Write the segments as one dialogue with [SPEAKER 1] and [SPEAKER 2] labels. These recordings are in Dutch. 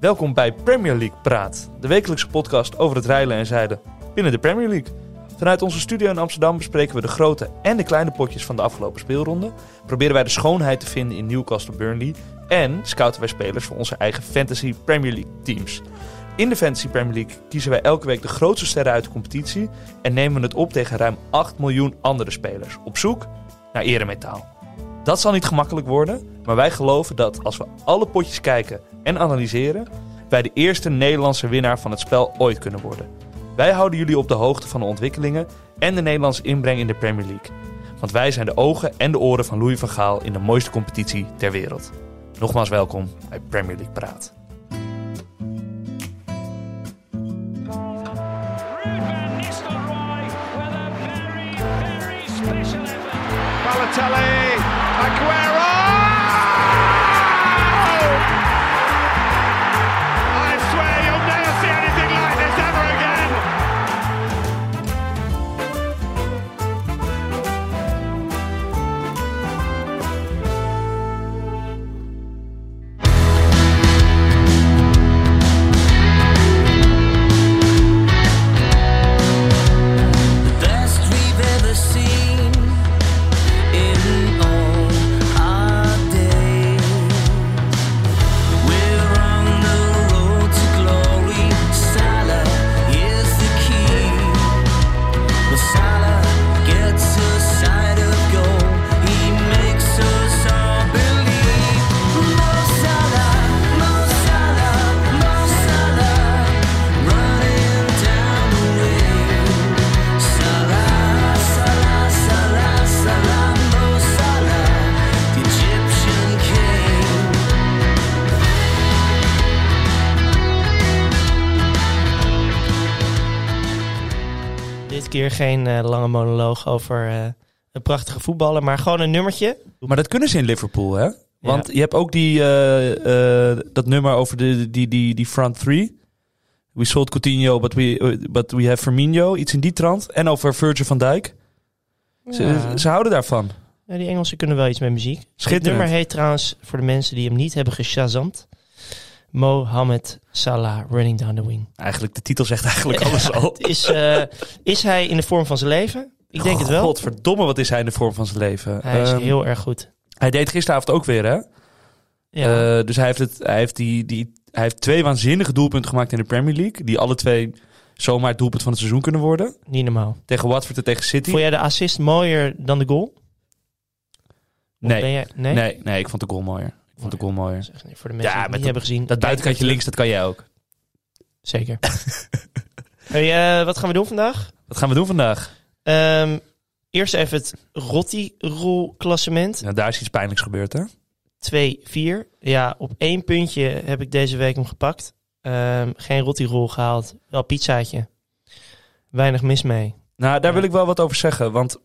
[SPEAKER 1] Welkom bij Premier League Praat, de wekelijkse podcast over het rijlen en zeilen binnen de Premier League. Vanuit onze studio in Amsterdam bespreken we de grote en de kleine potjes van de afgelopen speelronde. Proberen wij de schoonheid te vinden in Newcastle Burnley. En scouten wij spelers voor onze eigen Fantasy Premier League teams. In de Fantasy Premier League kiezen wij elke week de grootste sterren uit de competitie. En nemen we het op tegen ruim 8 miljoen andere spelers. Op zoek naar eremetaal. Dat zal niet gemakkelijk worden, maar wij geloven dat als we alle potjes kijken en analyseren, wij de eerste Nederlandse winnaar van het spel ooit kunnen worden. Wij houden jullie op de hoogte van de ontwikkelingen en de Nederlandse inbreng in de Premier League. Want wij zijn de ogen en de oren van Louis van Gaal in de mooiste competitie ter wereld. Nogmaals welkom bij Premier League Praat.
[SPEAKER 2] Ruud van Nistelrooy with a very, very special effort.
[SPEAKER 3] Balotelli, Aguero! I swear you'll never see anything like this ever again.
[SPEAKER 4] Best we've ever seen in all our days. We're on the road to glory. Salah is the key. When Salah gets a side of goal, he makes us all believe. Mo Salah, Mo Salah, Mo Salah, running down the way. Salah, Salah, Salah, Salah, Mo Salah, oh, the Egyptian king.
[SPEAKER 5] Dit keer geen eh, lange monoloog over eh, een prachtige voetballer, maar gewoon een nummertje.
[SPEAKER 1] Maar dat kunnen ze in Liverpool, hè? Want je hebt ook die, eh, eh, dat nummer over de, die, die, die front three. We sold Coutinho, but we, but we have Firmino. Iets in die trant. En over Virgil van Dijk. Ze,
[SPEAKER 5] Ja.
[SPEAKER 1] ze houden daarvan.
[SPEAKER 5] Ja, die Engelsen kunnen wel iets met muziek. Het
[SPEAKER 1] Schitterend.
[SPEAKER 5] nummer heet trouwens, voor de mensen die hem niet hebben geshazamd, Mohamed Salah Running Down the Wing.
[SPEAKER 1] Eigenlijk, de titel zegt eigenlijk alles al.
[SPEAKER 5] Is, eh, is hij in de vorm van zijn leven? Ik denk het wel.
[SPEAKER 1] Godverdomme, wat is hij in de vorm van zijn leven.
[SPEAKER 5] Hij is
[SPEAKER 1] Ehm,
[SPEAKER 5] heel erg goed.
[SPEAKER 1] hij deed gisteravond ook weer, hè?
[SPEAKER 5] Ja.
[SPEAKER 1] Eh, dus hij heeft, het, hij, heeft die, die, hij heeft twee waanzinnige doelpunten gemaakt in de Premier League. Die alle twee zomaar het doelpunt van het seizoen kunnen worden.
[SPEAKER 5] niet normaal.
[SPEAKER 1] Tegen Watford en tegen City.
[SPEAKER 5] Vond jij de assist mooier dan de goal? Of
[SPEAKER 1] nee.
[SPEAKER 5] ben jij- nee?
[SPEAKER 1] Nee, nee, ik vond de goal mooier. Ik vond de goal mooier.
[SPEAKER 5] Zeg, nee, Voor de mensen
[SPEAKER 1] Ja,
[SPEAKER 5] die het
[SPEAKER 1] met
[SPEAKER 5] niet hebben gezien.
[SPEAKER 1] Dat buitenkantje links, dat kan jij ook.
[SPEAKER 5] Zeker. hey, eh, wat gaan we doen vandaag?
[SPEAKER 1] Wat gaan we doen vandaag?
[SPEAKER 5] Ehm, eerst even het Rotti-rol klassement.
[SPEAKER 1] Nou, daar is iets pijnlijks gebeurd, hè?
[SPEAKER 5] 2-4. Ja, op één puntje heb ik deze week hem gepakt. Ehm, geen Rotti-rol gehaald. Wel pizzaatje. Weinig mis mee.
[SPEAKER 1] Nou, daar
[SPEAKER 5] Ja.
[SPEAKER 1] wil ik wel wat over zeggen. Want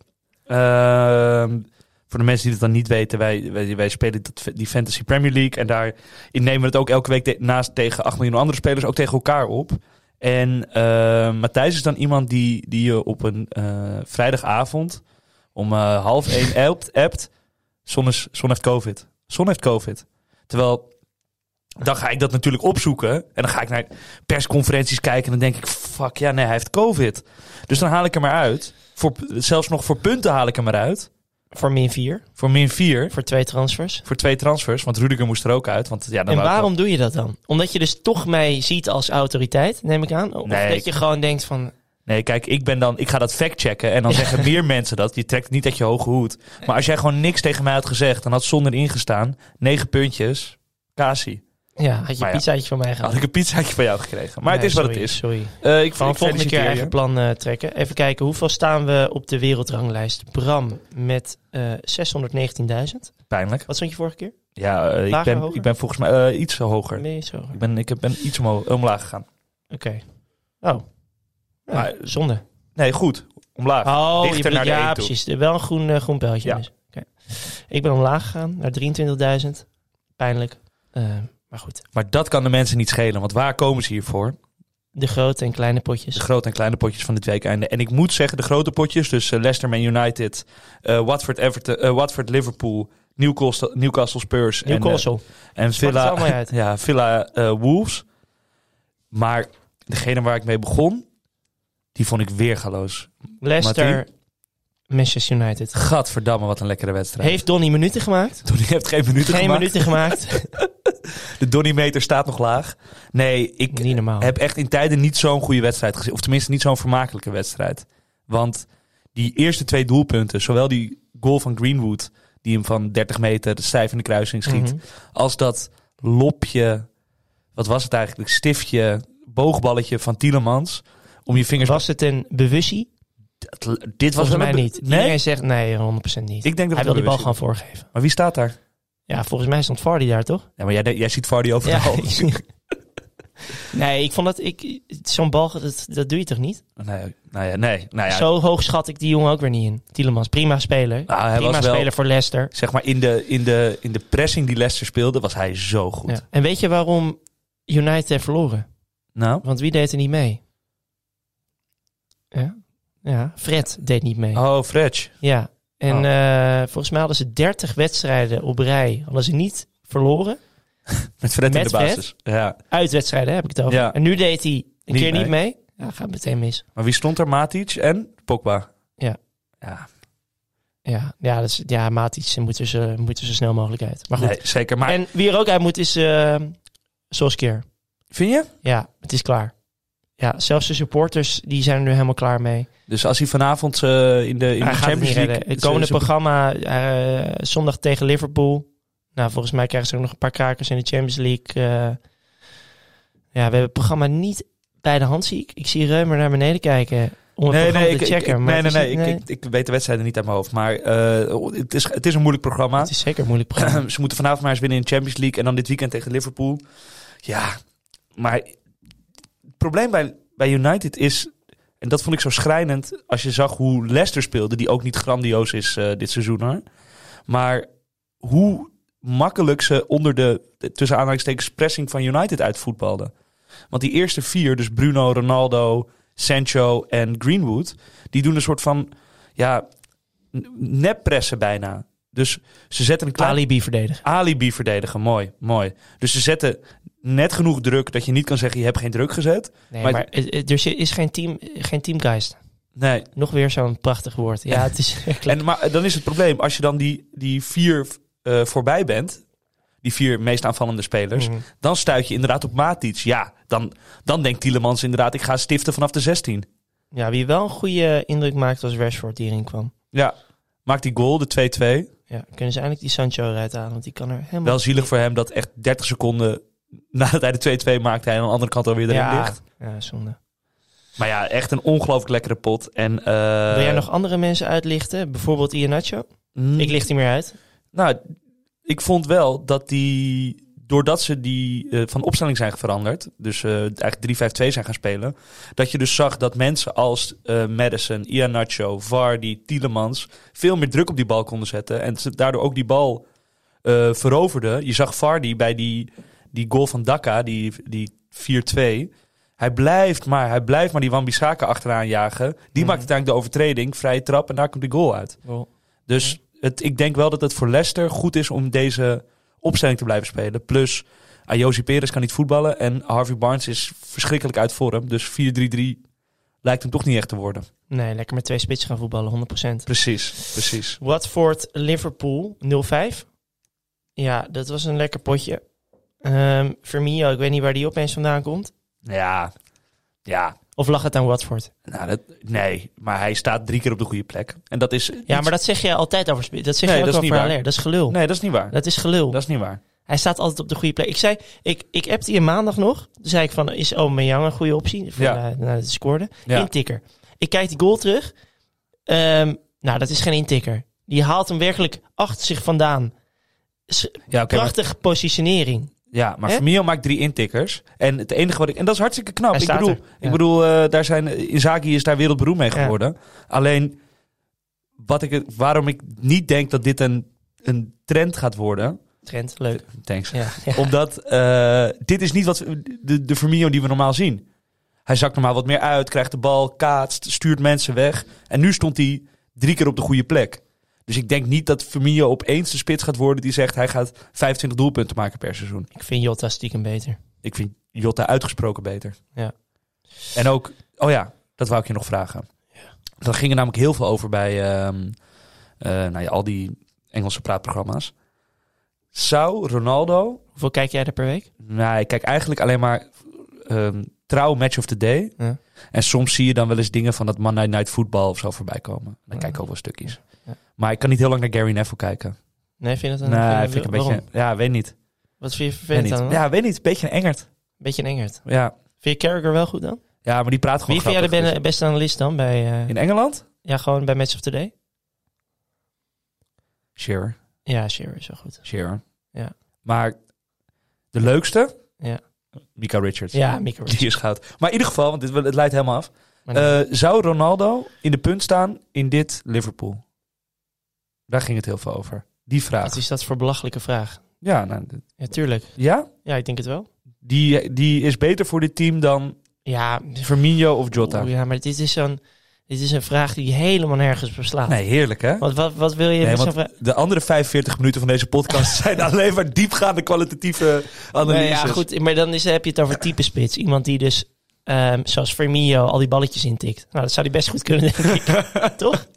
[SPEAKER 1] ehm, voor de mensen die het dan niet weten, wij, wij, wij spelen dat, die Fantasy Premier League. En daar nemen we het ook elke week te- naast tegen 8 miljoen andere spelers ook tegen elkaar op. En ehm Matthijs is dan iemand die, die je op een eh, vrijdagavond om eh, half één appt. appt Son, is, Son heeft COVID. Son heeft COVID. Terwijl, dan ga ik dat natuurlijk opzoeken. En dan ga ik naar persconferenties kijken. En dan denk ik, fuck ja, nee, hij heeft COVID. Dus dan haal ik hem eruit. Voor, zelfs nog voor punten haal ik hem eruit.
[SPEAKER 5] Voor min 4.
[SPEAKER 1] Voor min 4.
[SPEAKER 5] Voor twee transfers.
[SPEAKER 1] Voor twee transfers. Want Rudiger moest er ook uit. Want, ja, dan
[SPEAKER 5] en
[SPEAKER 1] wou ik
[SPEAKER 5] waarom doe je dat dan? Omdat je dus toch mij ziet als autoriteit, neem ik aan? Of
[SPEAKER 1] Nee, ik-
[SPEAKER 5] dat je gewoon denkt van...
[SPEAKER 1] wel- Nee, kijk, ik ben dan. Ik ga dat factchecken. En dan zeggen meer mensen dat. Je trekt niet uit je hoge hoed. Maar als jij gewoon niks tegen mij had gezegd. Dan had zonder ingestaan. 9 puntjes. Casie.
[SPEAKER 5] Ja, had je
[SPEAKER 1] Maar ja.
[SPEAKER 5] een pizzaatje van mij
[SPEAKER 1] Had
[SPEAKER 5] gehad.
[SPEAKER 1] ik een pizzaatje van jou gekregen. Maar
[SPEAKER 5] Nee,
[SPEAKER 1] het is wat
[SPEAKER 5] sorry,
[SPEAKER 1] het is.
[SPEAKER 5] Sorry.
[SPEAKER 1] Eh, ik
[SPEAKER 5] Van
[SPEAKER 1] ik
[SPEAKER 5] volgende keer
[SPEAKER 1] feliciteer je.
[SPEAKER 5] eigen plan eh, trekken. Even kijken, hoeveel staan we op de wereldranglijst? Bram met eh 619.000.
[SPEAKER 1] Pijnlijk.
[SPEAKER 5] Wat stond je vorige keer?
[SPEAKER 1] Ja, eh, ik,
[SPEAKER 5] Lager,
[SPEAKER 1] ben,
[SPEAKER 5] hoger?
[SPEAKER 1] ik ben volgens mij eh, iets hoger.
[SPEAKER 5] Nee, zo. Oké.
[SPEAKER 1] Ik ben, ik ben iets omho- omlaag gegaan.
[SPEAKER 5] Oh. Ja,
[SPEAKER 1] Maar-
[SPEAKER 5] zonde.
[SPEAKER 1] Nee, goed. Omlaag.
[SPEAKER 5] Oh,
[SPEAKER 1] dichter
[SPEAKER 5] je bent-
[SPEAKER 1] naar de
[SPEAKER 5] ja,
[SPEAKER 1] één toe.
[SPEAKER 5] precies. Wel een groen, eh, groen pijltje.
[SPEAKER 1] Ja.
[SPEAKER 5] dus. Oké. Ik ben omlaag gegaan naar 23.000. Pijnlijk. Eh, maar goed,
[SPEAKER 1] Maar dat kan de mensen niet schelen. Want waar komen ze hiervoor?
[SPEAKER 5] de grote en kleine potjes.
[SPEAKER 1] De grote en kleine potjes van dit weekende. En ik moet zeggen, de grote potjes, dus eh, Leicester Man United, eh, Watford, Everton, eh, Watford, Liverpool, Newcastle, Newcastle Spurs en, eh,
[SPEAKER 5] Newcastle.
[SPEAKER 1] en
[SPEAKER 5] Maakt het
[SPEAKER 1] Villa,
[SPEAKER 5] allemaal niet uit.
[SPEAKER 1] ja, Villa eh, Wolves. Maar degene waar ik mee begon, die vond ik weergaloos.
[SPEAKER 5] Leicester, Manchester United.
[SPEAKER 1] Gadverdamme, wat een lekkere wedstrijd.
[SPEAKER 5] Heeft Donny minuten gemaakt?
[SPEAKER 1] Donny heeft geen minuten
[SPEAKER 5] Geen
[SPEAKER 1] gemaakt.
[SPEAKER 5] minuten gemaakt.
[SPEAKER 1] De Donny-meter staat nog laag. Nee, ik
[SPEAKER 5] Niet normaal.
[SPEAKER 1] heb echt in tijden niet zo'n goede wedstrijd gezien. Of tenminste niet zo'n vermakelijke wedstrijd. Want die eerste twee doelpunten, zowel die goal van Greenwood... die hem van 30 meter stijf in de kruising schiet...
[SPEAKER 5] Mhm.
[SPEAKER 1] als dat lopje, wat was het eigenlijk, stiftje, boogballetje van Tielemans... om je vingers...
[SPEAKER 5] Was het een bewustie?
[SPEAKER 1] dit was
[SPEAKER 5] Volgens
[SPEAKER 1] wel
[SPEAKER 5] mij
[SPEAKER 1] een be-
[SPEAKER 5] niet.
[SPEAKER 1] Nee?
[SPEAKER 5] Iedereen zegt nee, 100% niet.
[SPEAKER 1] Ik denk dat
[SPEAKER 5] Hij
[SPEAKER 1] het
[SPEAKER 5] wil
[SPEAKER 1] wel
[SPEAKER 5] die bal
[SPEAKER 1] bewust
[SPEAKER 5] gaan voorgeven.
[SPEAKER 1] is. Maar wie staat daar?
[SPEAKER 5] Ja, volgens mij stond Vardy daar toch?
[SPEAKER 1] Ja, maar jij, jij ziet Vardy overal.
[SPEAKER 5] nee, ik vond dat ik zo'n bal dat, dat doe je toch niet?
[SPEAKER 1] Nee, nou ja, nee. Nou ja,
[SPEAKER 5] Zo hoog schat ik die jongen ook weer niet in. Tielemans, prima speler.
[SPEAKER 1] Nou, hij
[SPEAKER 5] prima
[SPEAKER 1] was wel-
[SPEAKER 5] speler voor Leicester.
[SPEAKER 1] zeg maar in de, in, de, in de pressing die Leicester speelde, was hij zo goed.
[SPEAKER 5] Ja. En weet je waarom United heeft verloren?
[SPEAKER 1] Nou?
[SPEAKER 5] Want wie deed er niet mee? Ja, ja Fred deed niet mee.
[SPEAKER 1] Oh, Fred.
[SPEAKER 5] Ja, en eh, volgens mij hadden ze 30 wedstrijden op rij. Hadden ze niet verloren.
[SPEAKER 1] Met Fred in
[SPEAKER 5] Met
[SPEAKER 1] de basis. Ja.
[SPEAKER 5] Uitwedstrijden heb ik het over.
[SPEAKER 1] Ja.
[SPEAKER 5] En nu deed hij een
[SPEAKER 1] Niet
[SPEAKER 5] keer
[SPEAKER 1] mee.
[SPEAKER 5] niet mee. Ja, gaat meteen mis.
[SPEAKER 1] Maar wie stond er? Matic en Pogba.
[SPEAKER 5] Ja.
[SPEAKER 1] Ja,
[SPEAKER 5] Ja, ja, dat is, ja Matic moeten ze, moeten zo snel mogelijk uit. Maar goed.
[SPEAKER 1] nee, zeker. Maar
[SPEAKER 5] En wie er ook uit moet is eh Solskjaer.
[SPEAKER 1] vind je?
[SPEAKER 5] Ja, het is klaar. Ja, zelfs de supporters die zijn er nu helemaal klaar mee.
[SPEAKER 1] Dus als hij vanavond eh, in de, in
[SPEAKER 5] hij
[SPEAKER 1] de
[SPEAKER 5] gaat het
[SPEAKER 1] Champions
[SPEAKER 5] niet
[SPEAKER 1] League...
[SPEAKER 5] redden. Het
[SPEAKER 1] ze-
[SPEAKER 5] komende
[SPEAKER 1] ze-
[SPEAKER 5] programma eh, zondag tegen Liverpool. Nou, volgens mij krijgen ze ook nog een paar krakers in de Champions League. eh. ja, we hebben het programma niet bij de hand, zie ik. Ik zie Reumer naar beneden kijken om het
[SPEAKER 1] Nee,
[SPEAKER 5] programma
[SPEAKER 1] nee, ik,
[SPEAKER 5] te
[SPEAKER 1] ik-
[SPEAKER 5] checken.
[SPEAKER 1] ik-
[SPEAKER 5] maar
[SPEAKER 1] nee, nee,
[SPEAKER 5] het is
[SPEAKER 1] nee,
[SPEAKER 5] niet-
[SPEAKER 1] Ik, ik, ik weet de wedstrijden niet uit mijn hoofd. Maar eh, het, is, het is een moeilijk programma.
[SPEAKER 5] het is zeker een moeilijk programma.
[SPEAKER 1] Ze moeten vanavond maar eens winnen in de Champions League. En dan dit weekend tegen Liverpool. Ja, maar het probleem bij, bij United is... En dat vond ik zo schrijnend als je zag hoe Leicester speelde. Die ook niet grandioos is eh, dit seizoen hoor. Maar hoe makkelijk ze onder de, tussen aanhalingstekens, pressing van United uitvoetbalden. Want die eerste vier, dus Bruno, Ronaldo, Sancho en Greenwood... die doen een soort van, ja, n- neppressen bijna. Dus ze zetten een klein
[SPEAKER 5] Alibi verdedigen.
[SPEAKER 1] alibi verdedigen. Mooi, mooi. Dus ze zetten net genoeg druk dat je niet kan zeggen: je hebt geen druk gezet.
[SPEAKER 5] Nee,
[SPEAKER 1] Maar-
[SPEAKER 5] maar, het- het- er is geen, team, geen teamgeist.
[SPEAKER 1] Nee.
[SPEAKER 5] Nog weer zo'n prachtig woord. Ja, het is
[SPEAKER 1] En, maar eh, dan is het probleem, als je dan die, die vier eh, voorbij bent, die vier meest aanvallende spelers,
[SPEAKER 5] Mhm.
[SPEAKER 1] dan stuit je inderdaad op Matic. Ja, dan, dan denkt Tielemans inderdaad: ik ga stiften vanaf de 16.
[SPEAKER 5] Ja, wie wel een goede indruk maakte was Rashford die erin kwam.
[SPEAKER 1] Ja. Maakt die goal, de 2-2.
[SPEAKER 5] Ja, kunnen ze eindelijk die Sancho eruit halen, want die kan er helemaal...
[SPEAKER 1] Wel zielig voor hem dat echt 30 seconden nadat hij de 2-2 maakte, hij aan de andere kant alweer erin
[SPEAKER 5] ja,
[SPEAKER 1] ligt. Eh.
[SPEAKER 5] ja, zonde.
[SPEAKER 1] Maar ja, echt een ongelooflijk lekkere pot. En, eh,
[SPEAKER 5] Wil jij nog andere mensen uitlichten? Bijvoorbeeld Iannaccio?
[SPEAKER 1] mm,
[SPEAKER 5] Ik licht hem meer uit.
[SPEAKER 1] Nou, ik vond wel dat die. Doordat ze die eh, van opstelling zijn veranderd, dus eh eigenlijk 3-5-2 zijn gaan spelen, dat je dus zag dat mensen als eh Madison, Iannaccio, Vardy, Tielemans veel meer druk op die bal konden zetten en ze daardoor ook die bal eh, veroverden. Je zag Vardy bij die, die goal van Dakka, die, die 4-2. Hij blijft maar, hij blijft maar die Wan-Bissaka achteraan jagen. Die maakt uiteindelijk de overtreding, vrije trap en daar komt die goal uit. Dus het, ik denk wel dat het voor Leicester goed is om deze opstelling te blijven spelen. Plus, Ayosi Perez kan niet voetballen en Harvey Barnes is verschrikkelijk uit vorm. Dus 4-3-3 lijkt hem toch niet echt te worden.
[SPEAKER 5] Nee, lekker met twee spitsen gaan voetballen, 100%.
[SPEAKER 1] Precies, precies.
[SPEAKER 5] Watford, Liverpool, 0-5. Ja, dat was een lekker potje. Ehm Firmino, ik weet niet waar die opeens vandaan komt.
[SPEAKER 1] Ja, ja.
[SPEAKER 5] Of lag het aan Watford?
[SPEAKER 1] Nou, dat, nee, maar hij staat drie keer op de goede plek. En dat is...
[SPEAKER 5] Ja, maar dat zeg jij altijd over spitsen. Dat zeg
[SPEAKER 1] Nee,
[SPEAKER 5] jij ook
[SPEAKER 1] dat is
[SPEAKER 5] over
[SPEAKER 1] niet waar.
[SPEAKER 5] Haller. Dat is gelul.
[SPEAKER 1] Nee, dat is niet waar.
[SPEAKER 5] Dat is gelul.
[SPEAKER 1] Dat is niet waar.
[SPEAKER 5] Hij staat altijd op de goede plek. Ik zei, ik, ik appte je maandag nog. Toen zei ik van, is Aubameyang een goede optie? Van,
[SPEAKER 1] Ja.
[SPEAKER 5] ja. nou, dat scoorde.
[SPEAKER 1] Ja.
[SPEAKER 5] Intikker. Ik kijk die goal terug. Ehm, nou, dat is geen intikker. Die haalt hem werkelijk achter zich vandaan. S-
[SPEAKER 1] Ja, oké. maar-
[SPEAKER 5] Prachtige positionering.
[SPEAKER 1] Ja, maar
[SPEAKER 5] Hè?
[SPEAKER 1] Firmino maakt drie intikkers. En het enige wat ik. En dat is hartstikke knap.
[SPEAKER 5] Hij
[SPEAKER 1] Ik
[SPEAKER 5] staat
[SPEAKER 1] bedoel,
[SPEAKER 5] er.
[SPEAKER 1] ik
[SPEAKER 5] Ja.
[SPEAKER 1] bedoel eh, daar zijn, Inzaghi is daar wereldberoemd mee
[SPEAKER 5] Ja.
[SPEAKER 1] geworden. Alleen wat ik, waarom ik niet denk dat dit een, een trend gaat worden.
[SPEAKER 5] Trent, leuk.
[SPEAKER 1] Thanks.
[SPEAKER 5] Ja, ja.
[SPEAKER 1] Omdat eh, dit is niet wat we- de, de Firmino die we normaal zien. Hij zakt normaal wat meer uit, krijgt de bal, kaatst, stuurt mensen weg. En nu stond hij drie keer op de goede plek. Dus ik denk niet dat Firmino opeens de spits gaat worden die zegt hij gaat 25 doelpunten maken per seizoen.
[SPEAKER 5] Ik vind Jota stiekem beter.
[SPEAKER 1] Ik vind Jota uitgesproken beter.
[SPEAKER 5] Ja.
[SPEAKER 1] En ook, oh ja, dat wou ik je nog vragen. Daar ging er namelijk heel veel over bij ehm, eh, nou ja, al die Engelse praatprogramma's. Zou Ronaldo,
[SPEAKER 5] Hoeveel kijk jij er per week?
[SPEAKER 1] nou ik kijk eigenlijk alleen maar ehm, trouw match of the day.
[SPEAKER 5] Ja.
[SPEAKER 1] En soms zie je dan wel eens dingen van dat Monday Night Football of zo voorbij komen. Dan
[SPEAKER 5] Ja.
[SPEAKER 1] kijk ik ook wel stukjes.
[SPEAKER 5] Ja.
[SPEAKER 1] Maar ik kan niet heel lang naar Gary Neville kijken.
[SPEAKER 5] Nee, vind je dat
[SPEAKER 1] Nee,
[SPEAKER 5] een...
[SPEAKER 1] vind ik een beetje.
[SPEAKER 5] waarom?
[SPEAKER 1] Ja, weet niet.
[SPEAKER 5] Wat vind je
[SPEAKER 1] Weet
[SPEAKER 5] vervelend
[SPEAKER 1] niet.
[SPEAKER 5] dan?
[SPEAKER 1] Ja, weet niet. Een beetje een engert.
[SPEAKER 5] Beetje een engert.
[SPEAKER 1] Ja.
[SPEAKER 5] Vind je Carragher wel goed dan?
[SPEAKER 1] ja, maar die praat gewoon.
[SPEAKER 5] Wie vind jij de
[SPEAKER 1] grappig. dus-
[SPEAKER 5] ben- beste analist dan? Bij, eh,
[SPEAKER 1] In Engeland?
[SPEAKER 5] ja, gewoon bij Match of the Day?
[SPEAKER 1] Shearer.
[SPEAKER 5] Ja, Shearer is wel goed.
[SPEAKER 1] Shearer.
[SPEAKER 5] Ja.
[SPEAKER 1] Maar de leukste?
[SPEAKER 5] Ja.
[SPEAKER 1] Mika Richards.
[SPEAKER 5] Ja, Mick Richards.
[SPEAKER 1] Die is goud. Maar in ieder geval, want dit, het leidt helemaal af.
[SPEAKER 5] Maar nee.
[SPEAKER 1] Eh, zou Ronaldo in de punt staan in dit Liverpool? Daar ging het heel veel over. Die vraag.
[SPEAKER 5] Wat is dat voor belachelijke vraag?
[SPEAKER 1] Ja, nou, d-
[SPEAKER 5] Ja, tuurlijk.
[SPEAKER 1] ja?
[SPEAKER 5] Ja, ik denk het wel.
[SPEAKER 1] Die, die is beter voor dit team dan
[SPEAKER 5] Ja,
[SPEAKER 1] Firmino of Jota.
[SPEAKER 5] oeh, ja maar dit is, zo'n, dit is een vraag die helemaal nergens beslaat.
[SPEAKER 1] Nee, heerlijk hè?
[SPEAKER 5] Want wat, wat wil je
[SPEAKER 1] Nee,
[SPEAKER 5] met zo'n
[SPEAKER 1] want
[SPEAKER 5] vraag?
[SPEAKER 1] de andere 45 minuten van deze podcast zijn alleen maar diepgaande kwalitatieve analyses.
[SPEAKER 5] Nee, ja, goed, maar dan is, heb je het over type spits. Iemand die dus, ehm, zoals Firmino, al die balletjes intikt. Nou, dat zou hij best goed kunnen, denk ik. Toch?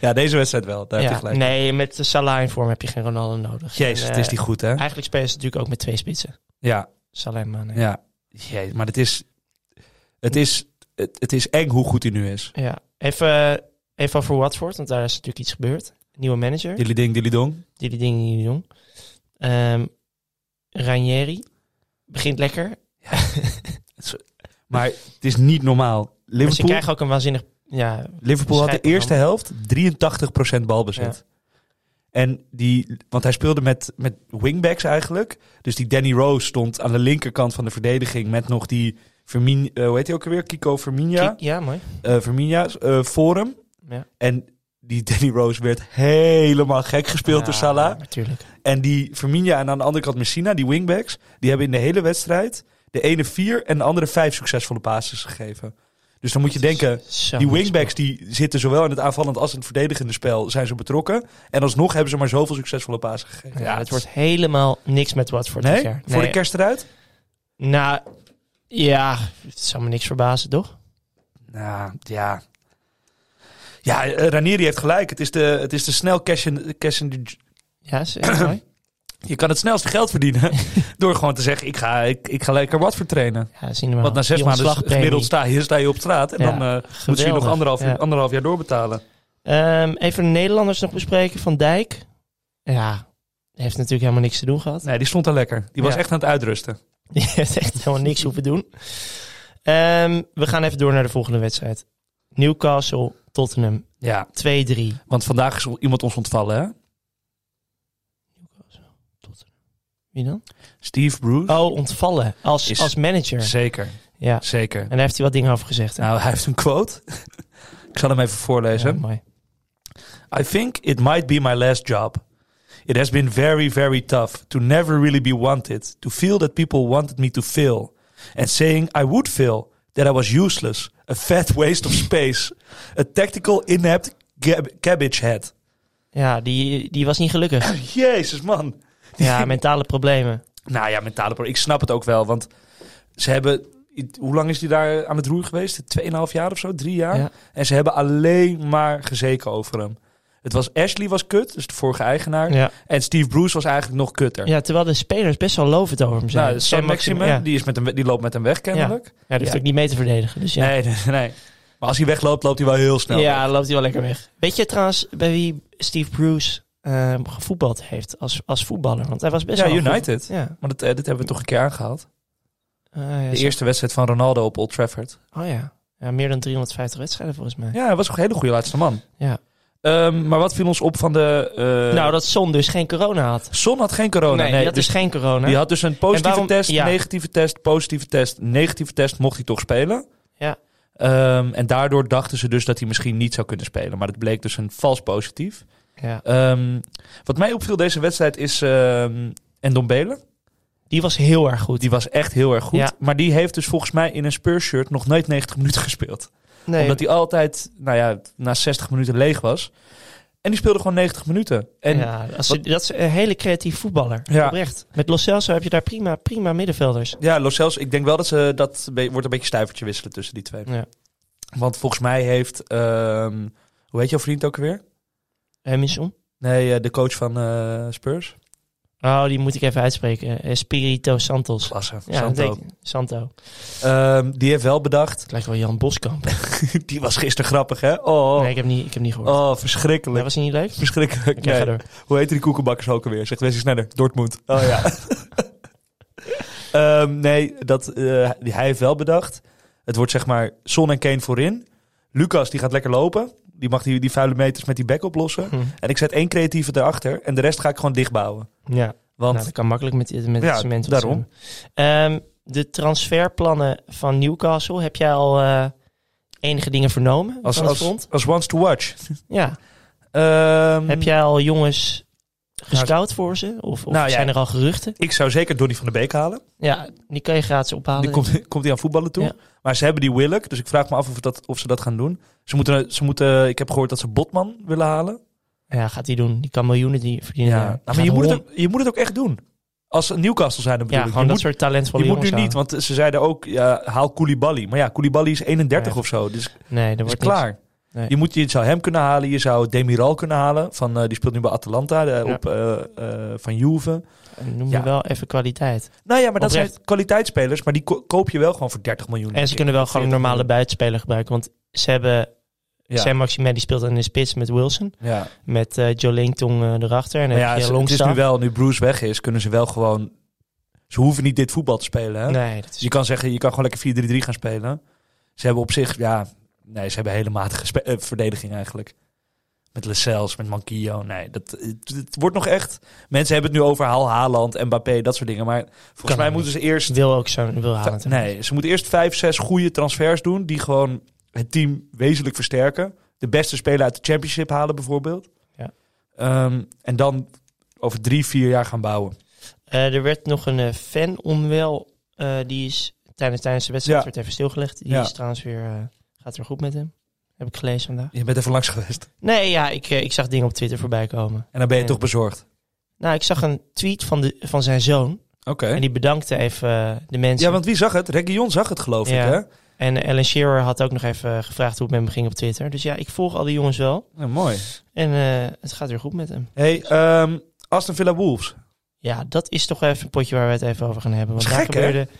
[SPEAKER 1] Ja, deze wedstrijd wel. Daar heb
[SPEAKER 5] Ja,
[SPEAKER 1] je gelijk.
[SPEAKER 5] nee, met eh, Salah in vorm heb je geen Ronaldo nodig.
[SPEAKER 1] Jezus,
[SPEAKER 5] En,
[SPEAKER 1] het
[SPEAKER 5] eh,
[SPEAKER 1] is die goed hè?
[SPEAKER 5] Eigenlijk spelen ze natuurlijk ook met twee spitsen.
[SPEAKER 1] Ja,
[SPEAKER 5] Salah en Mane. Ja.
[SPEAKER 1] ja. Jezus, maar het is, het, is, het, het is eng hoe goed hij nu is.
[SPEAKER 5] Even, eh, even over Watford, want daar is natuurlijk iets gebeurd. Nieuwe manager,
[SPEAKER 1] Dilly ding, dilly dong.
[SPEAKER 5] die die dingen niet doen. Ehm Ranieri begint lekker. Dus
[SPEAKER 1] Maar het is niet normaal.
[SPEAKER 5] Maar ze
[SPEAKER 1] Liverpool,
[SPEAKER 5] krijgen ook een waanzinnig... Ja,
[SPEAKER 1] Liverpool had de
[SPEAKER 5] Schijt, man.
[SPEAKER 1] eerste helft 83% balbezit. En die, want hij speelde met, met wingbacks eigenlijk. Dus die Danny Rose stond aan de linkerkant van de verdediging met nog die Vermin, eh, hoe heet hij ook alweer? Kiko Verminia.
[SPEAKER 5] kijk- ja, mooi.
[SPEAKER 1] eh Verminia eh, Forum.
[SPEAKER 5] Ja.
[SPEAKER 1] En die Danny Rose werd helemaal gek gespeeld door
[SPEAKER 5] Ja,
[SPEAKER 1] Salah.
[SPEAKER 5] natuurlijk.
[SPEAKER 1] En die Verminia en aan de andere kant Messina, die wingbacks, die hebben in de hele wedstrijd de ene vier en de andere vijf succesvolle passes gegeven. Dus dan moet je denken,
[SPEAKER 5] Zo
[SPEAKER 1] die
[SPEAKER 5] mooi
[SPEAKER 1] wingbacks die zitten zowel in het aanvallend als in het verdedigende spel, zijn ze betrokken. En alsnog hebben ze maar zoveel succesvolle pasen gegeven.
[SPEAKER 5] Ja, het wordt helemaal niks met Watford dit
[SPEAKER 1] Nee?
[SPEAKER 5] jaar.
[SPEAKER 1] Voor de kerst eruit?
[SPEAKER 5] Nou, ja, het zou me niks verbazen, toch?
[SPEAKER 1] Nou, ja. Ja, eh, Ranieri heeft gelijk. Het is de, het is de snel cash in, cash in the
[SPEAKER 5] Ja, is is mooi.
[SPEAKER 1] Je kan het snelste geld verdienen door gewoon te zeggen: ik ga, ik, ik ga lekker wat vertrainen.
[SPEAKER 5] Ja, zien we wel.
[SPEAKER 1] Want na zes
[SPEAKER 5] Die
[SPEAKER 1] maanden
[SPEAKER 5] ontslagpremie.
[SPEAKER 1] gemiddeld sta je, sta je op straat en
[SPEAKER 5] Ja,
[SPEAKER 1] dan eh, moet je
[SPEAKER 5] geweldig.
[SPEAKER 1] nog anderhalf,
[SPEAKER 5] Ja.
[SPEAKER 1] anderhalf jaar doorbetalen.
[SPEAKER 5] Ehm, even de Nederlanders nog bespreken. Van Dijk. Ja, heeft natuurlijk helemaal niks te doen gehad.
[SPEAKER 1] Nee, die stond daar lekker. Die was
[SPEAKER 5] Ja.
[SPEAKER 1] echt aan het uitrusten.
[SPEAKER 5] Die heeft echt helemaal niks hoeven doen. Ehm, we gaan even door naar de volgende wedstrijd. Newcastle, Tottenham,
[SPEAKER 1] Ja,
[SPEAKER 5] 2-3.
[SPEAKER 1] want vandaag is iemand ons ontvallen, hè?
[SPEAKER 5] Wie dan?
[SPEAKER 1] Steve Bruce.
[SPEAKER 5] Oh, ontvallen. Als,
[SPEAKER 1] Is-
[SPEAKER 5] als manager.
[SPEAKER 1] Zeker,
[SPEAKER 5] Ja.
[SPEAKER 1] zeker.
[SPEAKER 5] En daar heeft hij wat dingen over gezegd. hè?
[SPEAKER 1] Nou, hij heeft een quote. ik zal hem even
[SPEAKER 5] ja,
[SPEAKER 1] voorlezen.
[SPEAKER 5] mooi.
[SPEAKER 1] I think it might be my last job. It has been very, very tough to never really be wanted, to feel that people wanted me to fail, and saying I would fail, that I was useless, a fat waste of space, a tactical inept gab- cabbage head.
[SPEAKER 5] Ja, die, die was niet gelukkig.
[SPEAKER 1] Jezus, man.
[SPEAKER 5] Ja, mentale problemen.
[SPEAKER 1] Nou ja, mentale pro- Ik snap het ook wel, want ze hebben... Hoe lang is die daar aan het roer geweest? Tweeënhalf jaar of zo? Drie jaar?
[SPEAKER 5] Ja.
[SPEAKER 1] En ze hebben alleen maar gezeken over hem. Het was Ashley was kut, dus de vorige eigenaar.
[SPEAKER 5] Ja.
[SPEAKER 1] En Steve Bruce was eigenlijk nog kutter.
[SPEAKER 5] ja, terwijl de spelers best wel lovend over hem zijn.
[SPEAKER 1] nou, Sam Maximin,
[SPEAKER 5] Ja.
[SPEAKER 1] die, is met hem, die loopt met hem weg kennelijk.
[SPEAKER 5] Ja, die hoeft
[SPEAKER 1] Ja.
[SPEAKER 5] ook niet mee te verdedigen. Dus ja,
[SPEAKER 1] Nee, nee, nee. Maar als hij wegloopt, loopt hij wel heel snel.
[SPEAKER 5] ja
[SPEAKER 1] weg.
[SPEAKER 5] dan loopt hij wel lekker weg. Weet je trouwens bij wie Steve Bruce eh, gevoetbald heeft als, als voetballer? Want hij was best
[SPEAKER 1] ja
[SPEAKER 5] wel goed.
[SPEAKER 1] United.
[SPEAKER 5] Ja.
[SPEAKER 1] Maar dat, eh, dit hebben we toch een keer aangehaald.
[SPEAKER 5] Ah, ja,
[SPEAKER 1] De
[SPEAKER 5] zo-
[SPEAKER 1] eerste wedstrijd van Ronaldo op Old Trafford.
[SPEAKER 5] Oh ja. ja, meer dan 350 wedstrijden volgens mij.
[SPEAKER 1] Ja, hij was een hele goede laatste man.
[SPEAKER 5] Ja.
[SPEAKER 1] Ehm, maar wat viel ons op van de... eh,
[SPEAKER 5] nou, dat Son dus geen corona had.
[SPEAKER 1] Son had geen corona.
[SPEAKER 5] nee,
[SPEAKER 1] Nee,
[SPEAKER 5] die had
[SPEAKER 1] dus
[SPEAKER 5] dus geen corona.
[SPEAKER 1] die had dus een positieve
[SPEAKER 5] En waarom-
[SPEAKER 1] test,
[SPEAKER 5] ja.
[SPEAKER 1] negatieve test, positieve test, negatieve test. Mocht hij toch spelen?
[SPEAKER 5] Ja.
[SPEAKER 1] Ehm, en daardoor dachten ze dus dat hij misschien niet zou kunnen spelen. Maar het bleek dus een vals positief.
[SPEAKER 5] Ja.
[SPEAKER 1] Ehm, wat mij opviel deze wedstrijd is ehm Ndombele.
[SPEAKER 5] Die was heel erg goed.
[SPEAKER 1] Die was echt heel erg goed.
[SPEAKER 5] Ja.
[SPEAKER 1] Maar die heeft dus volgens mij in een Spurs-shirt nog nooit 90 minuten gespeeld.
[SPEAKER 5] nee,
[SPEAKER 1] Omdat hij altijd, nou ja, na 60 minuten leeg was. En die speelde gewoon 90 minuten. En
[SPEAKER 5] ja, als je- dat is een hele creatief voetballer.
[SPEAKER 1] Ja.
[SPEAKER 5] Oprecht. Met Lo Celso heb je daar prima, prima middenvelders.
[SPEAKER 1] Ja, Los Celso, ik denk wel dat ze dat be- wordt een beetje stuivertje wisselen tussen die twee.
[SPEAKER 5] Ja.
[SPEAKER 1] Want volgens mij heeft, ehm, hoe heet jouw vriend ook weer?
[SPEAKER 5] Hemmingson.
[SPEAKER 1] Nee, eh, de coach van eh, Spurs.
[SPEAKER 5] Oh, die moet ik even uitspreken. Eh, Espirito Santos.
[SPEAKER 1] Klasse.
[SPEAKER 5] Ja,
[SPEAKER 1] Santo.
[SPEAKER 5] dat denk ik. Santo.
[SPEAKER 1] Ehm, die heeft wel bedacht.
[SPEAKER 5] Het lijkt wel Jan Boskamp.
[SPEAKER 1] die was gisteren grappig, hè? Oh,
[SPEAKER 5] Nee, ik heb niet, ik heb niet gehoord.
[SPEAKER 1] oh
[SPEAKER 5] Ja,
[SPEAKER 1] verschrikkelijk.
[SPEAKER 5] was hij niet leuk?
[SPEAKER 1] Verschrikkelijk.
[SPEAKER 5] Oké, ga
[SPEAKER 1] Nee.
[SPEAKER 5] door.
[SPEAKER 1] Hoe heet die koekenbakkers ook alweer? Zegt Wesley Sneller. Dortmund. Oh ja. Ehm, nee, dat, eh, hij heeft wel bedacht. Het wordt zeg maar Son en Kane voorin. Lucas die gaat lekker lopen. Die mag die, die vuile meters met die bek oplossen.
[SPEAKER 5] Hm.
[SPEAKER 1] En ik zet één creatieve erachter. En de rest ga ik gewoon dichtbouwen.
[SPEAKER 5] Ja,
[SPEAKER 1] Want
[SPEAKER 5] nou, dat kan makkelijk met, met
[SPEAKER 1] Ja,
[SPEAKER 5] het cement. wat ze
[SPEAKER 1] daarom.
[SPEAKER 5] hebben. Ehm, de transferplannen van Newcastle. Heb jij al eh, enige dingen vernomen?
[SPEAKER 1] als,
[SPEAKER 5] van het
[SPEAKER 1] als, Hmm.
[SPEAKER 5] front?
[SPEAKER 1] als ones to watch.
[SPEAKER 5] Ja.
[SPEAKER 1] Ehm,
[SPEAKER 5] Heb jij al jongens gescout voor ze? Of, of
[SPEAKER 1] Nou, ja.
[SPEAKER 5] zijn er al geruchten?
[SPEAKER 1] Ik zou zeker Donny van de Beek halen.
[SPEAKER 5] Ja, die kan je gratis ophalen.
[SPEAKER 1] Die komt, komt hij aan voetballen toe.
[SPEAKER 5] Ja.
[SPEAKER 1] Maar ze hebben die Willock. Dus ik vraag me af of, dat, of ze dat gaan doen. Ze moeten, ze moeten, eh, ik heb gehoord dat ze Botman willen halen.
[SPEAKER 5] Ja, gaat hij doen. Die kan miljoenen die verdienen.
[SPEAKER 1] Ja,
[SPEAKER 5] daar.
[SPEAKER 1] nou,
[SPEAKER 5] Gaat
[SPEAKER 1] maar je moet, het
[SPEAKER 5] honderd-
[SPEAKER 1] ook, je moet het ook echt doen. Als ze Newcastle zijn, dan bedoel
[SPEAKER 5] Ja,
[SPEAKER 1] ik.
[SPEAKER 5] gewoon
[SPEAKER 1] Je
[SPEAKER 5] dat
[SPEAKER 1] moet,
[SPEAKER 5] soort talentvolle
[SPEAKER 1] je moet
[SPEAKER 5] jongens
[SPEAKER 1] nu niet,
[SPEAKER 5] halen.
[SPEAKER 1] want ze zeiden ook, ja, haal Koulibaly. Maar ja, Koulibaly is 31
[SPEAKER 5] Ja.
[SPEAKER 1] of zo, dus
[SPEAKER 5] Nee, dat
[SPEAKER 1] is
[SPEAKER 5] wordt
[SPEAKER 1] klaar.
[SPEAKER 5] Nee.
[SPEAKER 1] Je, moet, je zou hem kunnen halen, je zou Demiral kunnen halen. Van, eh, die speelt nu bij Atalanta, eh,
[SPEAKER 5] Ja.
[SPEAKER 1] op, eh, eh, van Juve.
[SPEAKER 5] Niet. Noem
[SPEAKER 1] Ja.
[SPEAKER 5] je wel even kwaliteit.
[SPEAKER 1] Nou ja, maar dat
[SPEAKER 5] Oprecht.
[SPEAKER 1] zijn kwaliteitsspelers, maar die ko- koop je wel gewoon voor 30 miljoen.
[SPEAKER 5] En ze kunnen wel gewoon een
[SPEAKER 1] 40
[SPEAKER 5] normale
[SPEAKER 1] miljoen.
[SPEAKER 5] buitenspeler gebruiken. Want ze hebben...
[SPEAKER 1] Ja.
[SPEAKER 5] Sam Maximin die speelt in de spits met Wilson.
[SPEAKER 1] Ja.
[SPEAKER 5] Met eh Joe Langtong eh, erachter. En dan
[SPEAKER 1] Maar ja,
[SPEAKER 5] heb je
[SPEAKER 1] ze- het is nu
[SPEAKER 5] Longstaff.
[SPEAKER 1] wel, nu Bruce weg is, kunnen ze wel gewoon... Ze hoeven niet dit voetbal te spelen, hè?
[SPEAKER 5] Nee, dat
[SPEAKER 1] Dus
[SPEAKER 5] is...
[SPEAKER 1] je kan zeggen, je kan gewoon lekker 4-3-3 gaan spelen. Ze hebben op zich, ja, nee, ze hebben hele matige spe- eh, verdediging eigenlijk. Met Lecels, met Manquillo. Nee, dat, het, het wordt nog echt. Mensen hebben het nu over Haal Haaland, Mbappé, dat soort dingen. Maar volgens
[SPEAKER 5] Kan
[SPEAKER 1] mij
[SPEAKER 5] niet.
[SPEAKER 1] moeten ze eerst.
[SPEAKER 5] Wil ook zo'n... Wil halen.
[SPEAKER 1] Nee, ze moeten eerst vijf, zes goede transfers doen. Die gewoon het team wezenlijk versterken. De beste speler uit de Championship halen, bijvoorbeeld.
[SPEAKER 5] Ja.
[SPEAKER 1] Ehm, en dan over drie, vier jaar gaan bouwen.
[SPEAKER 5] Eh, er werd nog een eh, fan onwel. eh, die is tijdens, tijdens de wedstrijd
[SPEAKER 1] Ja.
[SPEAKER 5] werd even stilgelegd. Die
[SPEAKER 1] Ja.
[SPEAKER 5] is trouwens weer... eh, gaat weer goed met hem. Heb ik gelezen vandaag.
[SPEAKER 1] Je bent even langs geweest.
[SPEAKER 5] Nee, ja, ik, eh, ik zag dingen op Twitter voorbij komen.
[SPEAKER 1] En dan ben je
[SPEAKER 5] Ja.
[SPEAKER 1] toch bezorgd.
[SPEAKER 5] Nou, ik zag een tweet van, de, van zijn zoon.
[SPEAKER 1] Oké.
[SPEAKER 5] En die bedankte even eh, de mensen.
[SPEAKER 1] Ja, want wie zag het? Region zag het, geloof
[SPEAKER 5] Ja.
[SPEAKER 1] ik. Hè?
[SPEAKER 5] En Ellen Shearer had ook nog even eh, gevraagd hoe het met hem ging op Twitter. Dus ja, ik volg al die jongens wel.
[SPEAKER 1] Ja, mooi.
[SPEAKER 5] En eh, het gaat weer goed met hem.
[SPEAKER 1] Hey, ehm, Aston Villa Wolves.
[SPEAKER 5] Ja, dat is toch even een potje waar we het even over gaan hebben. Want
[SPEAKER 1] Dat is
[SPEAKER 5] daar
[SPEAKER 1] gek, hè?
[SPEAKER 5] gebeurde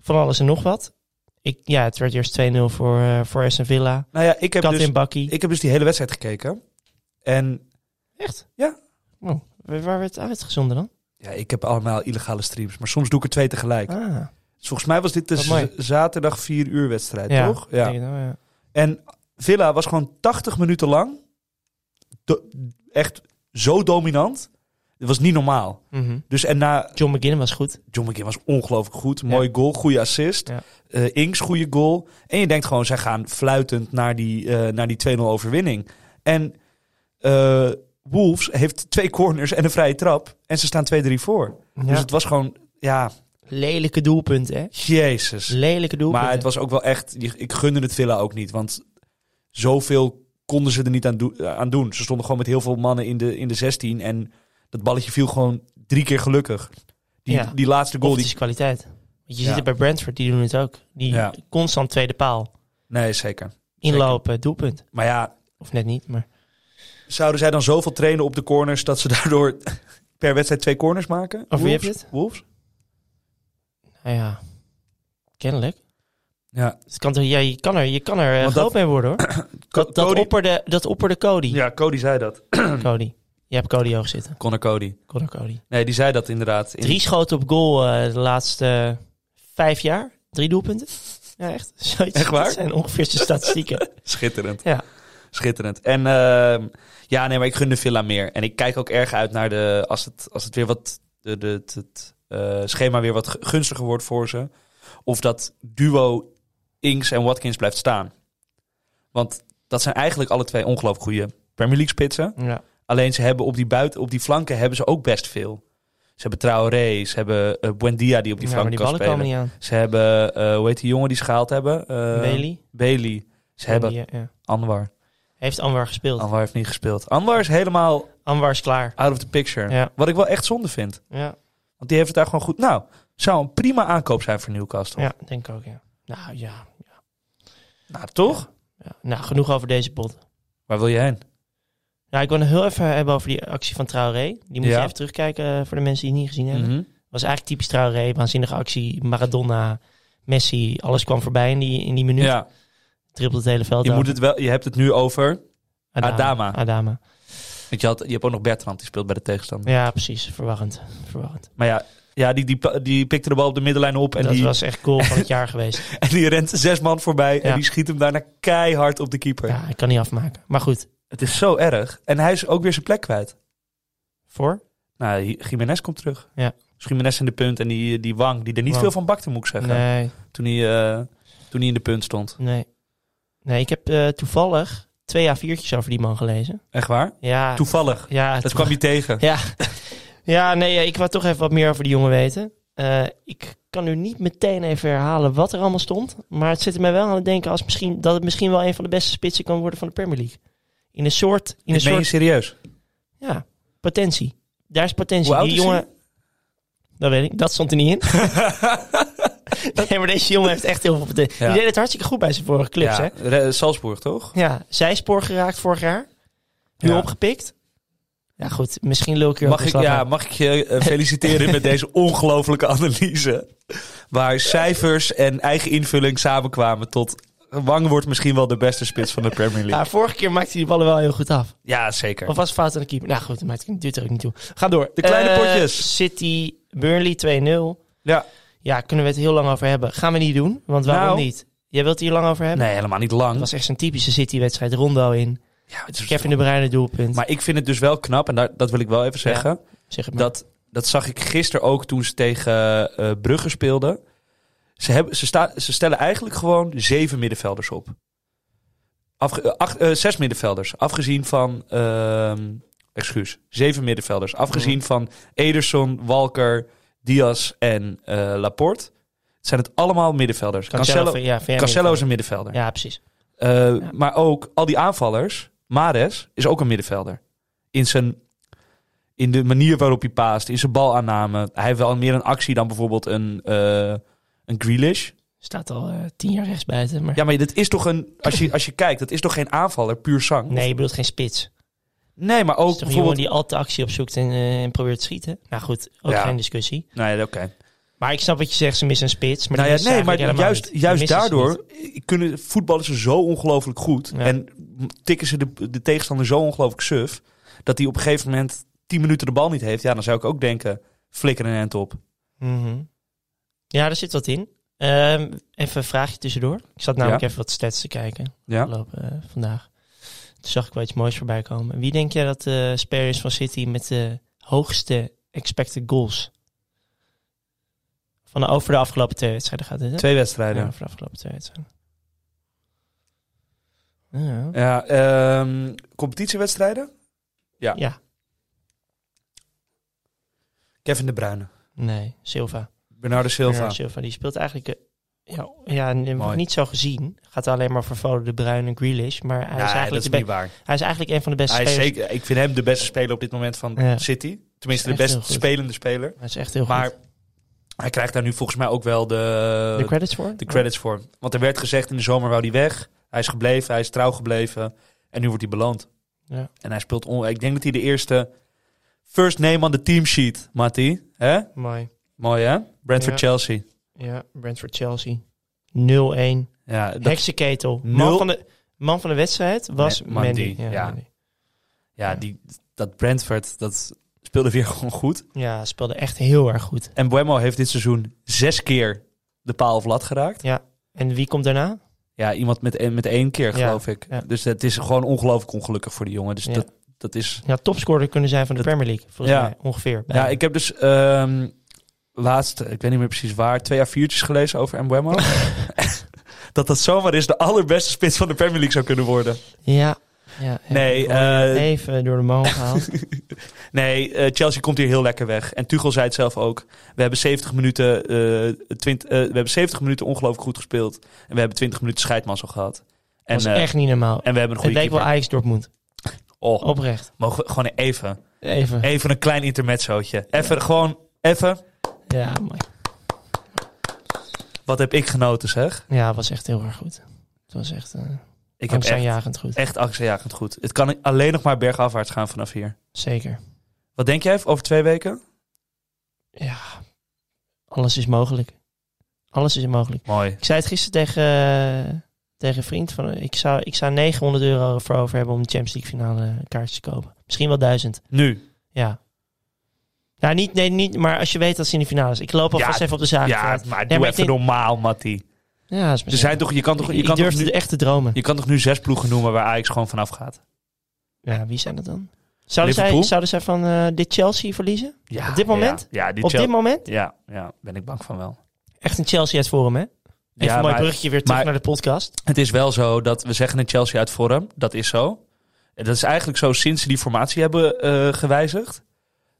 [SPEAKER 5] van alles en nog wat. Ik, ja, het werd eerst 2-0 voor, eh voor Aston Villa.
[SPEAKER 1] Nou ja, ik heb,
[SPEAKER 5] Kat
[SPEAKER 1] dus,
[SPEAKER 5] in bakkie.
[SPEAKER 1] ik heb dus die hele wedstrijd gekeken. En
[SPEAKER 5] Echt?
[SPEAKER 1] Ja.
[SPEAKER 5] Oh, waar waar werd het uitgezonden dan?
[SPEAKER 1] ja, ik heb allemaal illegale streams, maar soms doe ik er twee tegelijk.
[SPEAKER 5] Ah,
[SPEAKER 1] Dus volgens mij was dit de
[SPEAKER 5] Wat mooi.
[SPEAKER 1] z- zaterdag 4 uur wedstrijd,
[SPEAKER 5] ja,
[SPEAKER 1] toch?
[SPEAKER 5] ik
[SPEAKER 1] Ja.
[SPEAKER 5] denk het wel, ja.
[SPEAKER 1] En Villa was gewoon 80 minuten lang do- echt zo dominant. Het was niet normaal.
[SPEAKER 5] Mhm.
[SPEAKER 1] Dus en na
[SPEAKER 5] John McGinn was goed.
[SPEAKER 1] John McGinn was ongelooflijk goed. Mooi goal, goede assist.
[SPEAKER 5] Ja.
[SPEAKER 1] Eh, Inks, goede goal. En je denkt gewoon, zij gaan fluitend naar die, eh, naar die 2-0 overwinning. En eh, Wolves heeft twee corners en een vrije trap. En ze staan 2-3 voor. Dus
[SPEAKER 5] Ja.
[SPEAKER 1] het was gewoon, ja,
[SPEAKER 5] Lelijke doelpunt, hè?
[SPEAKER 1] jezus.
[SPEAKER 5] Lelijke doelpunt.
[SPEAKER 1] Maar het was ook wel echt, je- ik gunde het Villa ook niet. Want zoveel konden ze er niet aan, doe- aan doen. Ze stonden gewoon met heel veel mannen in de, in de 16. En dat balletje viel gewoon drie keer gelukkig. Die,
[SPEAKER 5] Ja.
[SPEAKER 1] die laatste goal,
[SPEAKER 5] Of
[SPEAKER 1] die
[SPEAKER 5] het is kwaliteit. Want je
[SPEAKER 1] Ja.
[SPEAKER 5] ziet het bij Brentford, die doen het ook. Die
[SPEAKER 1] Ja.
[SPEAKER 5] constant tweede paal.
[SPEAKER 1] Nee, zeker.
[SPEAKER 5] Inlopen, doelpunt.
[SPEAKER 1] Maar ja,
[SPEAKER 5] Of net niet, maar...
[SPEAKER 1] zouden zij dan zoveel trainen op de corners dat ze daardoor per wedstrijd twee corners maken?
[SPEAKER 5] Of wie
[SPEAKER 1] Wolves?
[SPEAKER 5] heeft het?
[SPEAKER 1] Wolves?
[SPEAKER 5] Nou ja, kennelijk.
[SPEAKER 1] Ja.
[SPEAKER 5] Het kan, toch- ja, je kan er, je kan er eh,
[SPEAKER 1] Want dat-
[SPEAKER 5] groot mee worden, hoor. dat, dat,
[SPEAKER 1] Cody-
[SPEAKER 5] opperde, dat opperde Cody.
[SPEAKER 1] Ja, Cody zei dat.
[SPEAKER 5] Cody. Je hebt Cody hoog zitten.
[SPEAKER 1] Connor Cody.
[SPEAKER 5] Connor Cody.
[SPEAKER 1] Nee, die zei dat inderdaad. In-
[SPEAKER 5] Drie schoten op goal eh, de laatste vijf jaar. Drie doelpunten. Ja, echt. Zoiets.
[SPEAKER 1] Echt waar?
[SPEAKER 5] Dat zijn ongeveer zijn statistieken.
[SPEAKER 1] Schitterend.
[SPEAKER 5] Ja.
[SPEAKER 1] Schitterend. En ehm, ja, nee, maar ik gun de Villa meer. En ik kijk ook erg uit naar de. Als het, als het weer wat. De, de, het- het eh, schema weer wat gu- gunstiger wordt voor ze. Of dat duo Inks en Watkins blijft staan. Want dat zijn eigenlijk alle twee ongelooflijk goede Premier League spitsen.
[SPEAKER 5] Ja.
[SPEAKER 1] Alleen ze hebben op die, buiten, op die flanken hebben ze ook best veel. Ze hebben Traoré, ze hebben eh, Buendia die op die
[SPEAKER 5] Ja, maar
[SPEAKER 1] flanken
[SPEAKER 5] die
[SPEAKER 1] kan spelen.
[SPEAKER 5] ballen komen niet aan.
[SPEAKER 1] Ze hebben, eh, hoe heet die jongen die ze gehaald hebben? Eh,
[SPEAKER 5] Bailey.
[SPEAKER 1] Bailey. Ze hebben
[SPEAKER 5] Ja, ja.
[SPEAKER 1] Anwar.
[SPEAKER 5] Hé, Heeft Anwar gespeeld.
[SPEAKER 1] Anwar heeft niet gespeeld. Anwar is helemaal
[SPEAKER 5] Anwar is klaar.
[SPEAKER 1] out of the picture.
[SPEAKER 5] Ja.
[SPEAKER 1] Wat ik wel echt zonde vind.
[SPEAKER 5] Ja,
[SPEAKER 1] Want die heeft het daar gewoon goed. Nou, zou een prima aankoop zijn voor Newcastle.
[SPEAKER 5] ja denk ik ook, ja. Nou, ja.
[SPEAKER 1] Nou, toch?
[SPEAKER 5] ja. Nou, genoeg over deze pot.
[SPEAKER 1] Waar wil je heen?
[SPEAKER 5] Nou, ik wil nog heel even hebben over die actie van Traoré. Die moet
[SPEAKER 1] Ja.
[SPEAKER 5] je even terugkijken eh, voor de mensen die het niet gezien hebben.
[SPEAKER 1] Mhm.
[SPEAKER 5] was eigenlijk typisch Traoré. Waanzinnige actie. Maradona, Messi. Alles kwam voorbij in die, in die minuut.
[SPEAKER 1] Ja,
[SPEAKER 5] Trippelt het hele veld
[SPEAKER 1] je,
[SPEAKER 5] af.
[SPEAKER 1] moet het wel, je hebt het nu over. Adama.
[SPEAKER 5] Adama.
[SPEAKER 1] Want je, had, je hebt ook nog Bertrand, die speelt bij de tegenstander.
[SPEAKER 5] Ja, precies. Verwarrend. Verwarrend.
[SPEAKER 1] Maar ja, ja die, die, die pikte de bal op de middenlijn op. En
[SPEAKER 5] dat
[SPEAKER 1] die,
[SPEAKER 5] was echt cool van het jaar geweest.
[SPEAKER 1] en die rent zes man voorbij. En
[SPEAKER 5] Ja.
[SPEAKER 1] die schiet hem daarna keihard op de keeper.
[SPEAKER 5] Ja, ik kan niet afmaken. Maar goed.
[SPEAKER 1] Het is zo erg. En hij is ook weer zijn plek kwijt.
[SPEAKER 5] Voor?
[SPEAKER 1] Nou, Jiménez komt terug.
[SPEAKER 5] Ja.
[SPEAKER 1] Dus Jiménez in de punt. En die, die Wang, die er niet
[SPEAKER 5] Wang.
[SPEAKER 1] veel van bakte, moet ik zeggen.
[SPEAKER 5] Nee.
[SPEAKER 1] Toen, hij, eh, toen hij in de punt stond.
[SPEAKER 5] Nee. Nee, ik heb eh, toevallig twee A4'tjes over die man gelezen.
[SPEAKER 1] Echt waar?
[SPEAKER 5] Ja.
[SPEAKER 1] Toevallig.
[SPEAKER 5] ja,
[SPEAKER 1] Dat kwam je tegen.
[SPEAKER 5] Ja. ja, nee, ja, ik wou toch even wat meer over die jongen weten. Eh, ik kan nu niet meteen even herhalen wat er allemaal stond. Maar het zette mij wel aan het denken als misschien, dat het misschien wel een van de beste spitsen kan worden van de Premier League. In een soort, in een
[SPEAKER 1] Dit meen je
[SPEAKER 5] soort
[SPEAKER 1] serieus?
[SPEAKER 5] ja, potentie. Daar is potentie.
[SPEAKER 1] Hoe oud
[SPEAKER 5] die
[SPEAKER 1] is
[SPEAKER 5] jongen. Dat weet ik, dat stond er niet in. nee, maar deze jongen heeft echt heel veel potentie.
[SPEAKER 1] Ja.
[SPEAKER 5] Die deed het hartstikke goed bij zijn vorige clubs, hè?
[SPEAKER 1] ja. Re- Salzburg, toch?
[SPEAKER 5] Ja, zijspoor geraakt vorig jaar. Nu
[SPEAKER 1] Ja.
[SPEAKER 5] opgepikt. Ja, goed. Misschien lul ik hier ook
[SPEAKER 1] Mag
[SPEAKER 5] een
[SPEAKER 1] ik,
[SPEAKER 5] slag
[SPEAKER 1] ja,
[SPEAKER 5] aan.
[SPEAKER 1] mag ik je eh, feliciteren met deze ongelofelijke analyse? Waar cijfers en eigen invulling samenkwamen tot... Wang wordt misschien wel de beste spits van de Premier League.
[SPEAKER 5] Ja, vorige keer maakte hij die ballen wel heel goed af.
[SPEAKER 1] Ja, zeker.
[SPEAKER 5] Of was het fout aan de keeper? Nou goed, maar het duurt er ook niet toe. Ga door.
[SPEAKER 1] De kleine
[SPEAKER 5] Eh,
[SPEAKER 1] potjes.
[SPEAKER 5] City, Burnley 2-0.
[SPEAKER 1] Ja.
[SPEAKER 5] Ja, kunnen we het heel lang over hebben. Gaan we niet doen, want waarom
[SPEAKER 1] Nou.
[SPEAKER 5] niet? Jij wilt hier lang over hebben?
[SPEAKER 1] Nee, helemaal niet
[SPEAKER 5] Het
[SPEAKER 1] lang.
[SPEAKER 5] was echt zo'n typische City-wedstrijd. Rondo in.
[SPEAKER 1] Ja, het is-
[SPEAKER 5] Kevin de Bruyne het doelpunt.
[SPEAKER 1] Maar ik vind het dus wel knap, en daar, dat wil ik wel even
[SPEAKER 5] Ja,
[SPEAKER 1] zeggen.
[SPEAKER 5] zeg het maar.
[SPEAKER 1] Dat, dat zag ik gisteren ook toen ze tegen eh, Brugge speelden. Ze, hebben, ze, sta, ze stellen eigenlijk gewoon zeven middenvelders op. Afge, eh, acht, eh, zes middenvelders, afgezien van... ehm, excuus, zeven middenvelders. Afgezien van Ederson, Walker, Diaz en eh, Laporte. Het zijn het allemaal middenvelders. Cancelo,
[SPEAKER 5] van- ja, van jij
[SPEAKER 1] Cancelo is
[SPEAKER 5] middenveld.
[SPEAKER 1] een middenvelder.
[SPEAKER 5] Ja, precies.
[SPEAKER 1] Eh, Maar ook al die aanvallers. Mares is ook een middenvelder. In, zijn, in de manier waarop hij paast, in zijn balaanname. Hij heeft wel meer een actie dan bijvoorbeeld een, eh een Grealish.
[SPEAKER 5] Staat al eh, tien jaar rechts buiten. Maar...
[SPEAKER 1] Ja, maar dat is toch een. Als je, als je kijkt, dat is toch geen aanvaller, puur zang?
[SPEAKER 5] Nee, je bedoelt geen spits. Het
[SPEAKER 1] Nee, maar ook
[SPEAKER 5] is toch een jongen
[SPEAKER 1] bijvoorbeeld.
[SPEAKER 5] die altijd actie opzoekt en, eh, en probeert te schieten? Nou goed, ook
[SPEAKER 1] Ja.
[SPEAKER 5] geen discussie.
[SPEAKER 1] Nee, oké.
[SPEAKER 5] Maar ik snap wat je zegt, ze missen een spits. Maar
[SPEAKER 1] Nou
[SPEAKER 5] die
[SPEAKER 1] ja,
[SPEAKER 5] missen
[SPEAKER 1] nee,
[SPEAKER 5] ze
[SPEAKER 1] maar
[SPEAKER 5] eigenlijk
[SPEAKER 1] juist,
[SPEAKER 5] helemaal niet.
[SPEAKER 1] juist
[SPEAKER 5] Die missen ze
[SPEAKER 1] daardoor kunnen voetballers ze zo ongelooflijk goed.
[SPEAKER 5] Ja.
[SPEAKER 1] En tikken ze de, de tegenstander zo ongelooflijk suf. Dat hij op een gegeven moment 10 minuten de bal niet heeft. Ja, dan zou ik ook denken: flikker een hand op.
[SPEAKER 5] niet. Mhm. Ja, daar zit wat in. Ehm, even een vraagje tussendoor. Ik zat namelijk even wat stats te kijken
[SPEAKER 1] Ja.
[SPEAKER 5] afgelopen eh, vandaag. Toen zag ik wel iets moois voorbij komen. Wie denk jij dat de speler is van City met de hoogste expected goals? Van de, over de afgelopen twee wedstrijden gaat dit, hè?
[SPEAKER 1] Twee wedstrijden.
[SPEAKER 5] Ja, over de afgelopen twee wedstrijden. Ja.
[SPEAKER 1] Ja, ehm, competitiewedstrijden?
[SPEAKER 5] ja,
[SPEAKER 1] Kevin de Bruyne.
[SPEAKER 5] nee, Silva.
[SPEAKER 1] Bernardo Silva.
[SPEAKER 5] Bernardo Silva, die speelt eigenlijk... eh, Ja, ja en wordt
[SPEAKER 1] Mooi.
[SPEAKER 5] niet zo gezien. Gaat alleen maar voor Foden, De Bruyne en Grealish. Maar hij,
[SPEAKER 1] Nee,
[SPEAKER 5] is eigenlijk
[SPEAKER 1] dat is
[SPEAKER 5] de be-
[SPEAKER 1] niet waar.
[SPEAKER 5] hij is eigenlijk een van de beste
[SPEAKER 1] Hij is
[SPEAKER 5] spelers.
[SPEAKER 1] zeker, ik vind hem de beste speler op dit moment van
[SPEAKER 5] Ja.
[SPEAKER 1] City. Tenminste, de
[SPEAKER 5] Echt heel
[SPEAKER 1] best
[SPEAKER 5] goed.
[SPEAKER 1] spelende speler.
[SPEAKER 5] Hij is echt heel
[SPEAKER 1] Maar
[SPEAKER 5] goed.
[SPEAKER 1] hij krijgt daar nu volgens mij ook wel
[SPEAKER 5] De
[SPEAKER 1] de,
[SPEAKER 5] credits voor?
[SPEAKER 1] de credits voor. Want er werd gezegd in de zomer wou hij weg. Hij is gebleven, hij is trouw gebleven. En nu wordt hij beloond.
[SPEAKER 5] Ja.
[SPEAKER 1] En hij speelt... On, ik denk dat hij de eerste... First name on the team sheet, Matti. hè
[SPEAKER 5] Mooi.
[SPEAKER 1] Mooi, hè? Brentford-Chelsea.
[SPEAKER 5] Oh, Ja, Brentford Chelsea. 0-1.
[SPEAKER 1] Ja, dat-
[SPEAKER 5] Heksenketel. Man,
[SPEAKER 1] Nul-
[SPEAKER 5] van de, man van de wedstrijd was
[SPEAKER 1] Nee,
[SPEAKER 5] Mandy.
[SPEAKER 1] Mandy,
[SPEAKER 5] Ja,
[SPEAKER 1] ja.
[SPEAKER 5] Mandy.
[SPEAKER 1] ja, die, dat Brentford, dat speelde weer gewoon goed.
[SPEAKER 5] Ja, speelde echt heel erg goed.
[SPEAKER 1] En Buemo heeft dit seizoen zes keer de paal of lat geraakt.
[SPEAKER 5] En wie komt daarna?
[SPEAKER 1] Ja, iemand met, één- met één keer,
[SPEAKER 5] Ja,
[SPEAKER 1] geloof ik.
[SPEAKER 5] ja.
[SPEAKER 1] Dus het is gewoon ongelooflijk ongelukkig voor die jongen. Dus
[SPEAKER 5] Ja.
[SPEAKER 1] dat, dat is...
[SPEAKER 5] Ja, topscorer kunnen zijn van de
[SPEAKER 1] Dat-
[SPEAKER 5] Premier League. Volgens
[SPEAKER 1] Ja.
[SPEAKER 5] mij, ongeveer.
[SPEAKER 1] Ja, ik heb dus ehm, laatst, ik weet niet meer precies waar, twee à viertjes gelezen over Mbuemo. dat dat zomaar is de allerbeste spits van de Premier League zou kunnen worden.
[SPEAKER 5] ja. ja
[SPEAKER 1] Nee,
[SPEAKER 5] even,
[SPEAKER 1] eh,
[SPEAKER 5] even door de molen gehaald.
[SPEAKER 1] Nee, eh, Chelsea komt hier heel lekker weg. En Tuchel zei het zelf ook. We hebben 70 minuten, eh, twint- eh, we hebben 70 minuten ongelooflijk goed gespeeld. En we hebben 20 minuten scheidmassel gehad.
[SPEAKER 5] Dat
[SPEAKER 1] En,
[SPEAKER 5] was
[SPEAKER 1] eh,
[SPEAKER 5] echt niet normaal.
[SPEAKER 1] en we hebben een
[SPEAKER 5] Het
[SPEAKER 1] goede
[SPEAKER 5] leek wel
[SPEAKER 1] keeper.
[SPEAKER 5] Ajax Dortmund.
[SPEAKER 1] Oh,
[SPEAKER 5] Oprecht.
[SPEAKER 1] mogen we gewoon even,
[SPEAKER 5] Even.
[SPEAKER 1] even een klein intermezzootje. Even, gewoon, even.
[SPEAKER 5] Ja, mooi.
[SPEAKER 1] Wat heb ik genoten, zeg.
[SPEAKER 5] Ja, het was echt heel erg goed. Het was echt eh
[SPEAKER 1] Ik heb echt,
[SPEAKER 5] angstaanjagend goed.
[SPEAKER 1] echt angstaanjagend goed. Het kan alleen nog maar bergafwaarts gaan vanaf hier.
[SPEAKER 5] Zeker.
[SPEAKER 1] Wat denk jij over twee weken?
[SPEAKER 5] Ja, alles is mogelijk. Alles is mogelijk.
[SPEAKER 1] Mooi.
[SPEAKER 5] Ik zei het gisteren tegen, eh, tegen een vriend. Van, eh, ik, zou, ik zou 900 euro voor over hebben om de Champions League finale kaartjes te kopen. Misschien wel 1000.
[SPEAKER 1] Nu.
[SPEAKER 5] Ja. Nou, niet, nee, niet, maar als je weet dat ze in de finale is. Ik loop alvast
[SPEAKER 1] Ja,
[SPEAKER 5] even op de zaak.
[SPEAKER 1] Ja, maar doe
[SPEAKER 5] maar ik
[SPEAKER 1] even
[SPEAKER 5] denk-
[SPEAKER 1] normaal, Mattie.
[SPEAKER 5] ja dat is
[SPEAKER 1] Er
[SPEAKER 5] misschien-
[SPEAKER 1] zijn toch, je, kan toch, je,
[SPEAKER 5] ik,
[SPEAKER 1] kan
[SPEAKER 5] ik
[SPEAKER 1] toch
[SPEAKER 5] durfde
[SPEAKER 1] nu,
[SPEAKER 5] echt te dromen.
[SPEAKER 1] je kan toch nu zes ploegen noemen waar Ajax gewoon vanaf gaat?
[SPEAKER 5] Ja, wie zijn dat dan? Zouden, zij,
[SPEAKER 1] Liverpool?
[SPEAKER 5] zouden zij van eh, dit Chelsea verliezen?
[SPEAKER 1] Ja,
[SPEAKER 5] Op dit moment?
[SPEAKER 1] Ja, ja, die
[SPEAKER 5] Op dit
[SPEAKER 1] Chel-
[SPEAKER 5] moment?
[SPEAKER 1] ja, ja, ben ik bang van wel.
[SPEAKER 5] Echt een Chelsea uit Forum, hè? Even
[SPEAKER 1] Ja,
[SPEAKER 5] een mooi
[SPEAKER 1] maar-
[SPEAKER 5] bruggetje weer terug
[SPEAKER 1] maar-
[SPEAKER 5] naar de podcast.
[SPEAKER 1] Het is wel zo dat we zeggen een Chelsea uit vorm. Dat is zo. En Dat is eigenlijk zo sinds ze die formatie hebben eh, gewijzigd.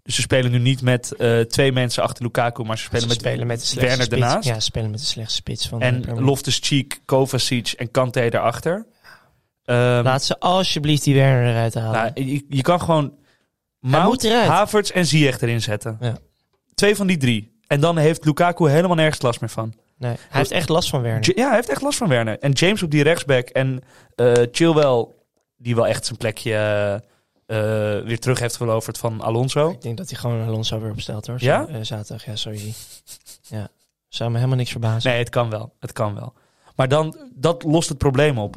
[SPEAKER 1] Dus ze spelen nu niet met eh, twee mensen achter Lukaku, maar ze spelen
[SPEAKER 5] Ze
[SPEAKER 1] met
[SPEAKER 5] spelen met de slechtste
[SPEAKER 1] Werner
[SPEAKER 5] spits.
[SPEAKER 1] ernaast.
[SPEAKER 5] Ja, ze spelen met de slechtste spits van de
[SPEAKER 1] en
[SPEAKER 5] Premier
[SPEAKER 1] Loftus Cheek, Kovacic en Kante erachter.
[SPEAKER 5] League.
[SPEAKER 1] Ehm,
[SPEAKER 5] Laat ze alsjeblieft die Werner eruit halen.
[SPEAKER 1] nou, je, je kan gewoon
[SPEAKER 5] moet
[SPEAKER 1] Mount,
[SPEAKER 5] eruit.
[SPEAKER 1] Havertz en Ziyech erin zetten.
[SPEAKER 5] Ja.
[SPEAKER 1] Twee van die drie. En dan heeft Lukaku helemaal nergens last meer van.
[SPEAKER 5] nee, hij heeft echt last van Werner.
[SPEAKER 1] Ja, Ja, hij heeft echt last van Werner. En James op die rechtsback. En eh Chilwell, die wel echt zijn plekje eh, eh, weer terug heeft veroverd van Alonso.
[SPEAKER 5] Ik denk dat hij gewoon Alonso weer opstelt hoor.
[SPEAKER 1] Ja?
[SPEAKER 5] Eh, zaterdag, ja, sorry. Ja. Zou me helemaal niks verbazen.
[SPEAKER 1] Nee, het kan wel. Het kan wel. Maar dan, dat lost het probleem op.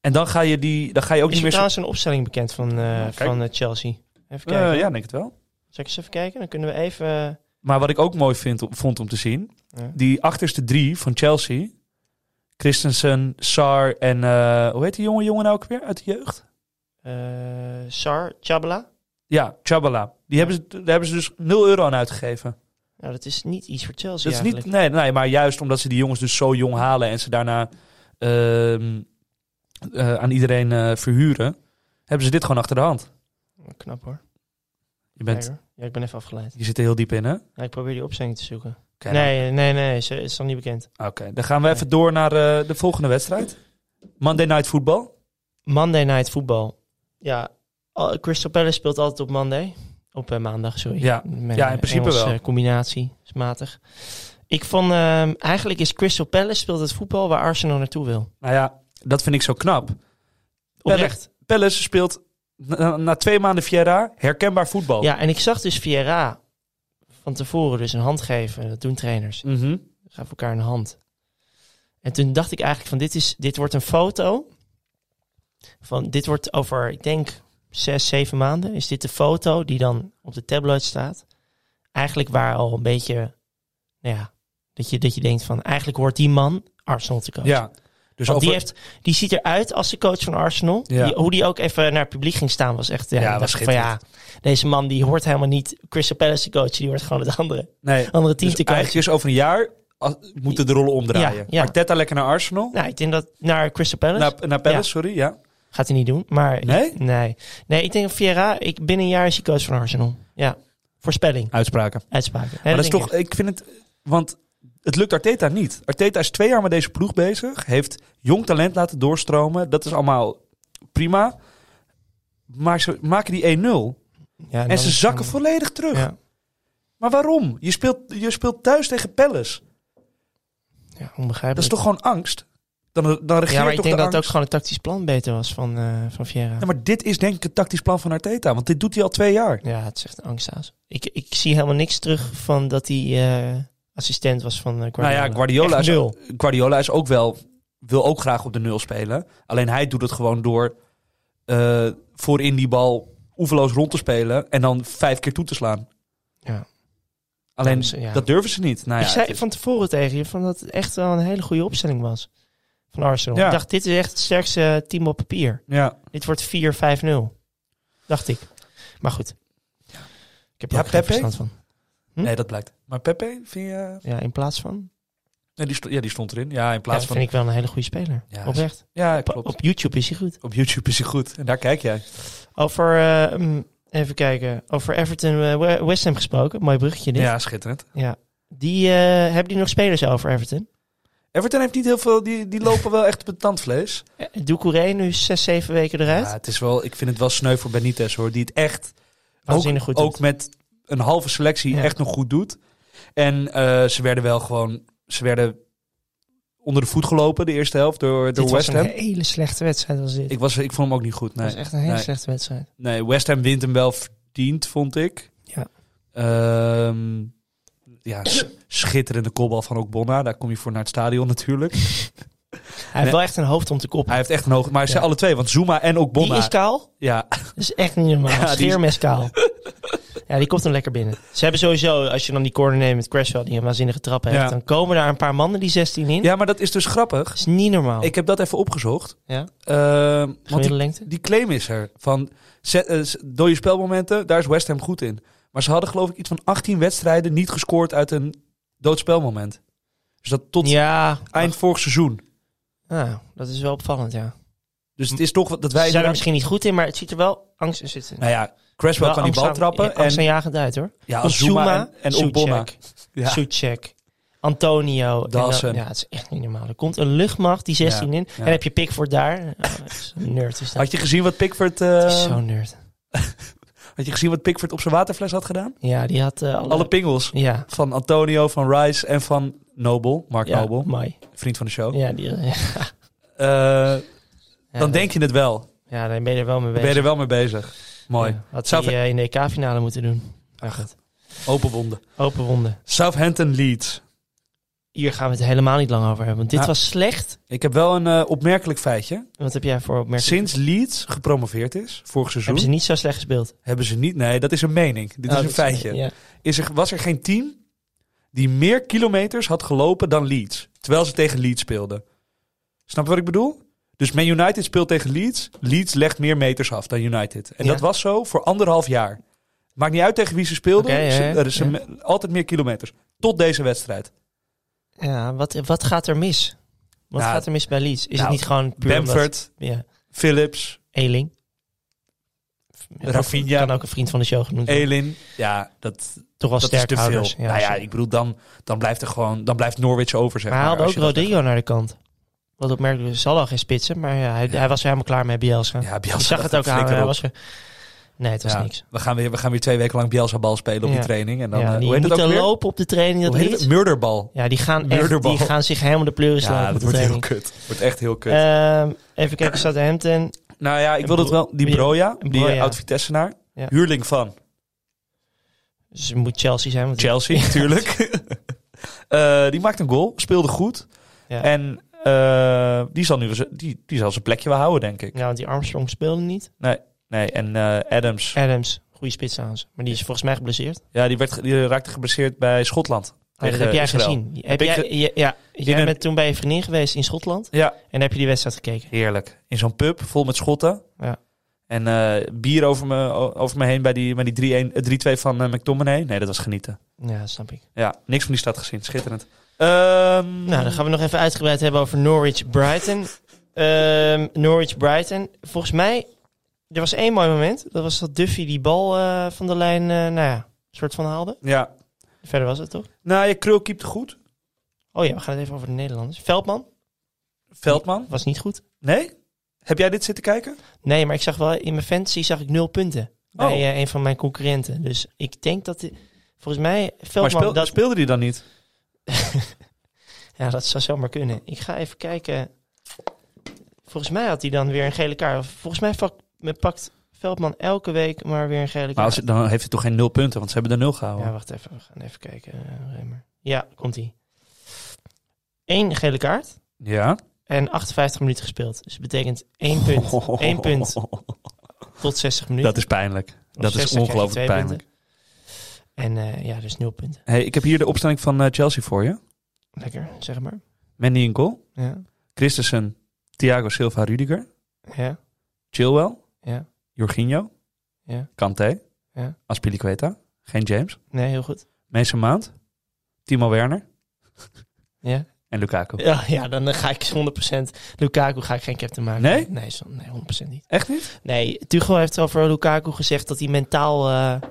[SPEAKER 1] En dan ga je, die, dan ga je ook
[SPEAKER 5] Is
[SPEAKER 1] niet
[SPEAKER 5] er
[SPEAKER 1] meer... zo-
[SPEAKER 5] trouwens een opstelling bekend van, eh,
[SPEAKER 1] kijk.
[SPEAKER 5] van eh, Chelsea? Even
[SPEAKER 1] Eh,
[SPEAKER 5] kijken.
[SPEAKER 1] ja, denk het wel.
[SPEAKER 5] Zal ik eens even kijken? Dan kunnen we even... eh,
[SPEAKER 1] Maar wat ik ook mooi vind, vond om te zien...
[SPEAKER 5] Ja.
[SPEAKER 1] Die achterste drie van Chelsea... Christensen, Sar en... eh, hoe heet die jonge jongen nou ook weer? Uit de jeugd?
[SPEAKER 5] eh, Sar, Chabala.
[SPEAKER 1] Ja, Chabala. Die hebben ze, daar hebben ze dus 0 euro aan uitgegeven.
[SPEAKER 5] Nou, dat is niet iets voor Chelsea
[SPEAKER 1] Dat is niet,
[SPEAKER 5] eigenlijk.
[SPEAKER 1] nee, nee, maar juist omdat ze die jongens dus zo jong halen en ze daarna ehm, eh, aan iedereen eh, verhuren, hebben ze dit gewoon achter de hand.
[SPEAKER 5] Oh, Knap hoor.
[SPEAKER 1] Je, bent,
[SPEAKER 5] Kijk, hoor. Ja, ik ben even afgeleid.
[SPEAKER 1] je zit er heel diep in, hè?
[SPEAKER 5] Ja, ik probeer die opstelling te zoeken.
[SPEAKER 1] Oké, nou,
[SPEAKER 5] nee, eh, nee, nee, ze is nog niet bekend.
[SPEAKER 1] Oké, dan gaan we even door naar eh, de volgende wedstrijd. Monday Night Football.
[SPEAKER 5] Monday Night Football. Ja, al- Crystal Palace speelt altijd op Monday. Op eh, maandag, sorry.
[SPEAKER 1] Ja.
[SPEAKER 5] Mijn,
[SPEAKER 1] Ja, in
[SPEAKER 5] eh,
[SPEAKER 1] principe
[SPEAKER 5] Engelse
[SPEAKER 1] wel.
[SPEAKER 5] combinatie is matig. Ik vond, ehm, eigenlijk is Crystal Palace speelt het voetbal waar Arsenal naartoe wil.
[SPEAKER 1] Nou ja, dat vind ik zo knap.
[SPEAKER 5] Oprecht.
[SPEAKER 1] Palace speelt na, na twee maanden Vieira herkenbaar voetbal.
[SPEAKER 5] Ja, en ik zag dus Vieira van tevoren dus een hand geven. Dat doen trainers.
[SPEAKER 1] Mhm.
[SPEAKER 5] gaf elkaar een hand. En toen dacht ik eigenlijk van dit, is, dit wordt een foto. Van, dit wordt over, ik denk, zes, zeven maanden. Is dit de foto die dan op de tabloid staat. Eigenlijk waar al een beetje, nou ja, dat je, dat je denkt van eigenlijk hoort die man Arsenal te coachen.
[SPEAKER 1] ja. Dus
[SPEAKER 5] Want
[SPEAKER 1] over,
[SPEAKER 5] die, heeft, die ziet eruit als de coach van Arsenal.
[SPEAKER 1] Ja.
[SPEAKER 5] Die- hoe die ook even naar het publiek ging staan was echt... Ja,
[SPEAKER 1] Ja,
[SPEAKER 5] ik
[SPEAKER 1] was
[SPEAKER 5] dacht van ja,
[SPEAKER 1] schitterend.
[SPEAKER 5] deze man die hoort helemaal niet Crystal Palace te coachen. Die hoort gewoon het andere,
[SPEAKER 1] nee,
[SPEAKER 5] andere team
[SPEAKER 1] dus
[SPEAKER 5] te coachen.
[SPEAKER 1] eigenlijk is over een jaar als- moeten de rollen omdraaien.
[SPEAKER 5] Ja, ja.
[SPEAKER 1] Arteta lekker naar Arsenal.
[SPEAKER 5] Nou, ik denk dat naar Crystal Palace.
[SPEAKER 1] Naar, naar Palace,
[SPEAKER 5] Ja.
[SPEAKER 1] sorry, ja.
[SPEAKER 5] Gaat hij niet doen. Maar
[SPEAKER 1] Nee?
[SPEAKER 5] nee. Nee, ik denk dat Vieira, ik, binnen een jaar is hij coach van Arsenal. Ja. Voorspelling,
[SPEAKER 1] Uitspraken.
[SPEAKER 5] uitspraken. Nee,
[SPEAKER 1] Maar dat is
[SPEAKER 5] denk
[SPEAKER 1] toch, ik vind het, want het lukt Arteta niet. Arteta is twee jaar met deze ploeg bezig, heeft jong talent laten doorstromen. Dat is allemaal prima. Maar ze maken die 1-0
[SPEAKER 5] ik. Ja,
[SPEAKER 1] en
[SPEAKER 5] dan
[SPEAKER 1] ze
[SPEAKER 5] is-
[SPEAKER 1] zakken
[SPEAKER 5] dan-
[SPEAKER 1] volledig terug.
[SPEAKER 5] Ja.
[SPEAKER 1] Maar waarom? Je speelt, je speelt thuis tegen Palace.
[SPEAKER 5] ja,
[SPEAKER 1] Dat is
[SPEAKER 5] onbegrijpelijk.
[SPEAKER 1] toch gewoon angst? Dan, dan regeert
[SPEAKER 5] ja, maar ik
[SPEAKER 1] toch
[SPEAKER 5] denk
[SPEAKER 1] de
[SPEAKER 5] dat het ook
[SPEAKER 1] angst?
[SPEAKER 5] gewoon het tactisch plan beter was van, eh van Vieira.
[SPEAKER 1] Ja, maar dit is denk ik het tactisch plan van Arteta, want dit doet hij al twee jaar.
[SPEAKER 5] Ja, het is echt een angstaas. Ik, ik zie helemaal niks terug van dat hij eh, assistent was van eh, Guardiola.
[SPEAKER 1] Nou ja, Guardiola
[SPEAKER 5] Echt
[SPEAKER 1] is,
[SPEAKER 5] nul.
[SPEAKER 1] Guardiola is ook wel, wil ook graag op de nul spelen. Alleen hij doet het gewoon door eh, voorin die bal oeverloos rond te spelen en dan vijf keer toe te slaan.
[SPEAKER 5] Ja.
[SPEAKER 1] Alleen
[SPEAKER 5] Ja, dus, ja.
[SPEAKER 1] dat durven ze niet. Nou ja,
[SPEAKER 5] ik zei
[SPEAKER 1] het is-
[SPEAKER 5] van tevoren tegen je van dat het echt wel een hele goede opstelling was van Arsenal.
[SPEAKER 1] Ja.
[SPEAKER 5] Ik dacht, dit is echt het sterkste eh, team op papier.
[SPEAKER 1] ja.
[SPEAKER 5] Dit wordt 4-5-0. Dacht ik. Maar goed. Ik heb er
[SPEAKER 1] Ja,
[SPEAKER 5] ook geen
[SPEAKER 1] Pepe?
[SPEAKER 5] verstand van. Hm?
[SPEAKER 1] Nee, dat blijkt. Maar Pepe, vind je...
[SPEAKER 5] Ja, in plaats van.
[SPEAKER 1] Nee, die stond, ja, die stond erin. Ja, in plaats
[SPEAKER 5] ja,
[SPEAKER 1] van...
[SPEAKER 5] vind ik wel een hele goede speler.
[SPEAKER 1] Ja,
[SPEAKER 5] Oprecht.
[SPEAKER 1] Ja,
[SPEAKER 5] Op,
[SPEAKER 1] klopt. Op,
[SPEAKER 5] op YouTube is hij goed.
[SPEAKER 1] YouTube is hij goed. En daar kijk jij.
[SPEAKER 5] Over, eh, mm, even kijken. Over Everton eh, We- West Ham gesproken. Mooi bruggetje dit.
[SPEAKER 1] Ja, schitterend.
[SPEAKER 5] Ja. Die, eh, hebben die nog spelers over Everton?
[SPEAKER 1] Everton heeft niet heel veel, die, die lopen wel echt op het tandvlees.
[SPEAKER 5] Eh, Doucouré nu zes, zeven weken eruit.
[SPEAKER 1] Ja, het is wel, ik vind het wel sneu voor Benitez hoor, die het echt
[SPEAKER 5] Waanzinnig goed doet.
[SPEAKER 1] ook met een halve selectie
[SPEAKER 5] Ja.
[SPEAKER 1] echt nog goed doet. En eh, ze werden wel gewoon, ze werden onder de voet gelopen de eerste helft door, door
[SPEAKER 5] dit was
[SPEAKER 1] West
[SPEAKER 5] een
[SPEAKER 1] Ham.
[SPEAKER 5] hele slechte wedstrijd was dit.
[SPEAKER 1] Ik, was, ik vond hem ook niet goed.
[SPEAKER 5] Het
[SPEAKER 1] Nee.
[SPEAKER 5] was echt een hele
[SPEAKER 1] nee.
[SPEAKER 5] slechte wedstrijd.
[SPEAKER 1] nee, West Ham wint hem wel verdiend, vond ik.
[SPEAKER 5] Ja.
[SPEAKER 1] Ehm, ja, s- schitterende kopbal van Okbonna. Daar kom je voor naar het stadion natuurlijk.
[SPEAKER 5] Hij heeft wel echt een hoofd om te koppen.
[SPEAKER 1] Hij heeft echt een hoog... Maar ze
[SPEAKER 5] Ja.
[SPEAKER 1] alle twee, want Zuma en Okbonna.
[SPEAKER 5] Die is kaal.
[SPEAKER 1] Ja,
[SPEAKER 5] Dat is echt niet normaal.
[SPEAKER 1] Ja, die is-
[SPEAKER 5] Scheermes kaal. ja, die komt hem lekker binnen. Ze hebben sowieso, als je dan die corner neemt met Crashwell, die een waanzinnige trap heeft,
[SPEAKER 1] Ja.
[SPEAKER 5] dan komen daar een paar mannen die 16 in. Oh.
[SPEAKER 1] ja, maar dat is dus grappig.
[SPEAKER 5] Dat is niet normaal.
[SPEAKER 1] Ik heb dat even opgezocht.
[SPEAKER 5] ja,
[SPEAKER 1] Ehm, want
[SPEAKER 5] gemiddelde
[SPEAKER 1] die,
[SPEAKER 5] lengte.
[SPEAKER 1] die claim is er. Van zet, eh, s- dode spelmomenten, daar is West Ham goed in. Maar ze hadden geloof ik iets van 18 wedstrijden niet gescoord uit een doodspelmoment. Dus dat tot
[SPEAKER 5] Ja,
[SPEAKER 1] eind vorig seizoen.
[SPEAKER 5] nou, dat is wel opvallend, ja.
[SPEAKER 1] Dus het is toch wat- dat wij...
[SPEAKER 5] Ze zijn er misschien niet goed in, maar het ziet er wel angst in zitten.
[SPEAKER 1] Nou ja, Cresswell kan die bal trappen.
[SPEAKER 5] en
[SPEAKER 1] en
[SPEAKER 5] jagend uit, hoor.
[SPEAKER 1] ja,
[SPEAKER 5] Zuma,
[SPEAKER 1] Zuma en, en
[SPEAKER 5] Suchek.
[SPEAKER 1] Ogbonna. Ja.
[SPEAKER 5] Suchek, Antonio. en
[SPEAKER 1] Dawson.
[SPEAKER 5] dan- ja, het is echt niet normaal. Er komt een luchtmacht, die 16
[SPEAKER 1] Ja,
[SPEAKER 5] in.
[SPEAKER 1] ja.
[SPEAKER 5] En dan heb je Pickford daar. Oh, dat is een nerd is dat.
[SPEAKER 1] Had je gezien wat Pickford, eh,
[SPEAKER 5] Dat is Zo'n nerd.
[SPEAKER 1] had je gezien wat Pickford op zijn waterfles had gedaan?
[SPEAKER 5] Ja, die had eh, alle...
[SPEAKER 1] Alle pingels.
[SPEAKER 5] ja.
[SPEAKER 1] Van Antonio, van Rice en van Noble. Mark
[SPEAKER 5] Ja,
[SPEAKER 1] Noble,
[SPEAKER 5] mooi.
[SPEAKER 1] vriend van de show.
[SPEAKER 5] Ja, die, ja.
[SPEAKER 1] Eh,
[SPEAKER 5] Ja,
[SPEAKER 1] dan denk je het wel. Dan
[SPEAKER 5] Ja, dan ben je er wel mee bezig.
[SPEAKER 1] ben je er wel mee bezig. Mooi.
[SPEAKER 5] Ja, had
[SPEAKER 1] Zou
[SPEAKER 5] hij eh, in de EK-finale moeten doen. Maar goed.
[SPEAKER 1] Open wonden.
[SPEAKER 5] Open wonden.
[SPEAKER 1] Southampton Leeds.
[SPEAKER 5] Hier gaan we het helemaal niet lang over hebben. Want dit
[SPEAKER 1] Nou.
[SPEAKER 5] was slecht.
[SPEAKER 1] Ik heb wel een eh, opmerkelijk feitje.
[SPEAKER 5] Wat heb jij voor opmerkingen?
[SPEAKER 1] Sinds Leeds gepromoveerd is, vorig seizoen,
[SPEAKER 5] Hebben ze niet zo slecht gespeeld?
[SPEAKER 1] niet... Nee, dat is een mening. Dit
[SPEAKER 5] Oh,
[SPEAKER 1] is een
[SPEAKER 5] dat
[SPEAKER 1] feitje.
[SPEAKER 5] ja.
[SPEAKER 1] Is er, was er geen team die meer kilometers had gelopen dan Leeds. Terwijl ze tegen Leeds speelden. Snap je wat ik bedoel? Dus Man United speelt tegen Leeds. Leeds legt meer meters af dan United. En
[SPEAKER 5] Ja.
[SPEAKER 1] dat was zo voor anderhalf jaar. Maakt niet uit tegen wie ze speelden.
[SPEAKER 5] Oké, ja,
[SPEAKER 1] ze,
[SPEAKER 5] ja,
[SPEAKER 1] er is
[SPEAKER 5] ja.
[SPEAKER 1] een- altijd meer kilometers. Tot deze wedstrijd.
[SPEAKER 5] Ja, wat, wat gaat er mis? Wat
[SPEAKER 1] Nou,
[SPEAKER 5] gaat er mis bij Leeds? Is
[SPEAKER 1] nou,
[SPEAKER 5] het niet gewoon puur omdat-
[SPEAKER 1] Bamford,
[SPEAKER 5] ja,
[SPEAKER 1] Phillips,
[SPEAKER 5] Eling. Ja,
[SPEAKER 1] Rafinha.
[SPEAKER 5] Kan ook een vriend van de show genoemd worden.
[SPEAKER 1] Elin. Ja, dat,
[SPEAKER 5] Toch wel
[SPEAKER 1] dat is
[SPEAKER 5] sterk
[SPEAKER 1] te veel.
[SPEAKER 5] houders. Ja,
[SPEAKER 1] nou ja,
[SPEAKER 5] zeker.
[SPEAKER 1] ik bedoel, dan, dan, blijft er gewoon, dan blijft Norwich over, zeg
[SPEAKER 5] maar hij haalde
[SPEAKER 1] als
[SPEAKER 5] ook
[SPEAKER 1] je dat-
[SPEAKER 5] Rodrigo naar de kant. Wat opmerkelijk is, zal al geen spitsen, maar ja, hij, hij was er helemaal klaar mee Bielsa.
[SPEAKER 1] Ja, Bielsa
[SPEAKER 5] ik zag
[SPEAKER 1] dacht,
[SPEAKER 5] het ook aan.
[SPEAKER 1] flikker
[SPEAKER 5] Hij
[SPEAKER 1] op.
[SPEAKER 5] was er- Nee, het was
[SPEAKER 1] Ja,
[SPEAKER 5] niks.
[SPEAKER 1] We gaan, weer, we gaan weer twee weken lang Bielsa bal spelen op
[SPEAKER 5] Ja.
[SPEAKER 1] die training. En dan,
[SPEAKER 5] ja,
[SPEAKER 1] eh,
[SPEAKER 5] die
[SPEAKER 1] hoe heet het ook
[SPEAKER 5] moeten
[SPEAKER 1] weer?
[SPEAKER 5] lopen op de training. Dat
[SPEAKER 1] Hoe heet
[SPEAKER 5] heet.
[SPEAKER 1] het? Murderbal.
[SPEAKER 5] Ja, die gaan, echt,
[SPEAKER 1] Murderbal.
[SPEAKER 5] die gaan zich helemaal de pleuris
[SPEAKER 1] Ja,
[SPEAKER 5] laten op
[SPEAKER 1] dat
[SPEAKER 5] de
[SPEAKER 1] wordt heel
[SPEAKER 5] training.
[SPEAKER 1] kut. Wordt echt heel kut.
[SPEAKER 5] Ehm, even kijken, Southampton.
[SPEAKER 1] nou ja, ik wil dat
[SPEAKER 5] Bro-
[SPEAKER 1] wel. Die Broja, die
[SPEAKER 5] Broja.
[SPEAKER 1] eh, oud-Vitessenaar.
[SPEAKER 5] Ja.
[SPEAKER 1] Huurling van
[SPEAKER 5] Dus het moet Chelsea zijn. want-
[SPEAKER 1] Chelsea, natuurlijk. Eh, die maakt een goal, speelde goed.
[SPEAKER 5] Ja.
[SPEAKER 1] En eh, die, zal nu, wel z- die, die zal zijn plekje wel houden, denk ik.
[SPEAKER 5] Ja, want die Armstrong speelde niet.
[SPEAKER 1] Nee, en eh, Adams,
[SPEAKER 5] Adams, goede spits trouwens. Maar die is volgens mij geblesseerd.
[SPEAKER 1] ja, die, werd, ge- die raakte geblesseerd bij Schotland.
[SPEAKER 5] Ah, dat
[SPEAKER 1] Tegen
[SPEAKER 5] heb jij
[SPEAKER 1] Israël.
[SPEAKER 5] gezien. Heb
[SPEAKER 1] ik
[SPEAKER 5] jij,
[SPEAKER 1] ge-
[SPEAKER 5] je- ja, jij
[SPEAKER 1] een-
[SPEAKER 5] bent toen bij je vriendin geweest in Schotland.
[SPEAKER 1] Ja,
[SPEAKER 5] En daar heb je die wedstrijd gekeken.
[SPEAKER 1] heerlijk. In zo'n pub, vol met Schotten.
[SPEAKER 5] Ja.
[SPEAKER 1] En eh, bier over me, o- over me heen bij die, bij die 3-1 eh, 3-2 van eh, McTominay. Nee, dat was genieten.
[SPEAKER 5] Ja, dat snap ik.
[SPEAKER 1] Ja, niks van die stad gezien. Schitterend. Ehm,
[SPEAKER 5] Nou, dan gaan we nog even uitgebreid hebben over Norwich-Brighton. Ehm, Norwich-Brighton. Volgens mij, er was één mooi moment. Dat was dat Duffy die bal eh, van de lijn, eh, nou ja, soort van haalde.
[SPEAKER 1] Ja.
[SPEAKER 5] Verder was het toch?
[SPEAKER 1] Nou, je krul keept goed.
[SPEAKER 5] Oh ja, we gaan het even over de Nederlanders. Veldman
[SPEAKER 1] Veldman.
[SPEAKER 5] was niet goed.
[SPEAKER 1] Nee? Heb jij dit zitten kijken?
[SPEAKER 5] Nee, maar ik zag wel in mijn fantasy zag ik nul punten bij
[SPEAKER 1] Oh.
[SPEAKER 5] eh, een van mijn concurrenten. Dus ik denk dat die- volgens mij
[SPEAKER 1] Maar
[SPEAKER 5] Veldman
[SPEAKER 1] speel-
[SPEAKER 5] dat
[SPEAKER 1] speelde die dan niet?
[SPEAKER 5] ja, dat zou zomaar kunnen. Ik ga even kijken. Volgens mij had hij dan weer een gele kaart. Volgens mij vak- me pakt Veldman elke week maar weer een gele
[SPEAKER 1] Maar
[SPEAKER 5] kaart.
[SPEAKER 1] als, dan heeft hij toch geen nul punten, want ze hebben er nul gehouden.
[SPEAKER 5] Ja, wacht even. We gaan even kijken. eh, Remer. Ja, komt hij. Eén gele kaart
[SPEAKER 1] Ja.
[SPEAKER 5] en 58 minuten gespeeld. Dus dat betekent één punt, één punt tot 60 minuten.
[SPEAKER 1] Dat is pijnlijk.
[SPEAKER 5] Op
[SPEAKER 1] Dat is
[SPEAKER 5] 60 krijg je
[SPEAKER 1] ongelooflijk
[SPEAKER 5] twee
[SPEAKER 1] pijnlijk.
[SPEAKER 5] En eh, ja, dus nul punten.
[SPEAKER 1] Hey, ik heb hier de opstelling van eh, Chelsea voor je.
[SPEAKER 5] Lekker, zeg maar.
[SPEAKER 1] Mandy in goal.
[SPEAKER 5] Ja,
[SPEAKER 1] Christensen, Thiago Silva, Rudiger.
[SPEAKER 5] ja,
[SPEAKER 1] Chilwell,
[SPEAKER 5] ja.
[SPEAKER 1] Jorginho.
[SPEAKER 5] Ja.
[SPEAKER 1] Kanté.
[SPEAKER 5] Ja.
[SPEAKER 1] Aspilicueta. Geen James.
[SPEAKER 5] Nee, heel goed.
[SPEAKER 1] Mason Maand. Timo Werner.
[SPEAKER 5] Ja,
[SPEAKER 1] En Lukaku.
[SPEAKER 5] ja, ja dan eh, ga ik 100% Lukaku ga ik geen captain maken.
[SPEAKER 1] Nee?
[SPEAKER 5] Nee, zo- nee 100% niet.
[SPEAKER 1] Echt niet?
[SPEAKER 5] Nee, Tuchel heeft over Lukaku gezegd dat hij mentaal... eh,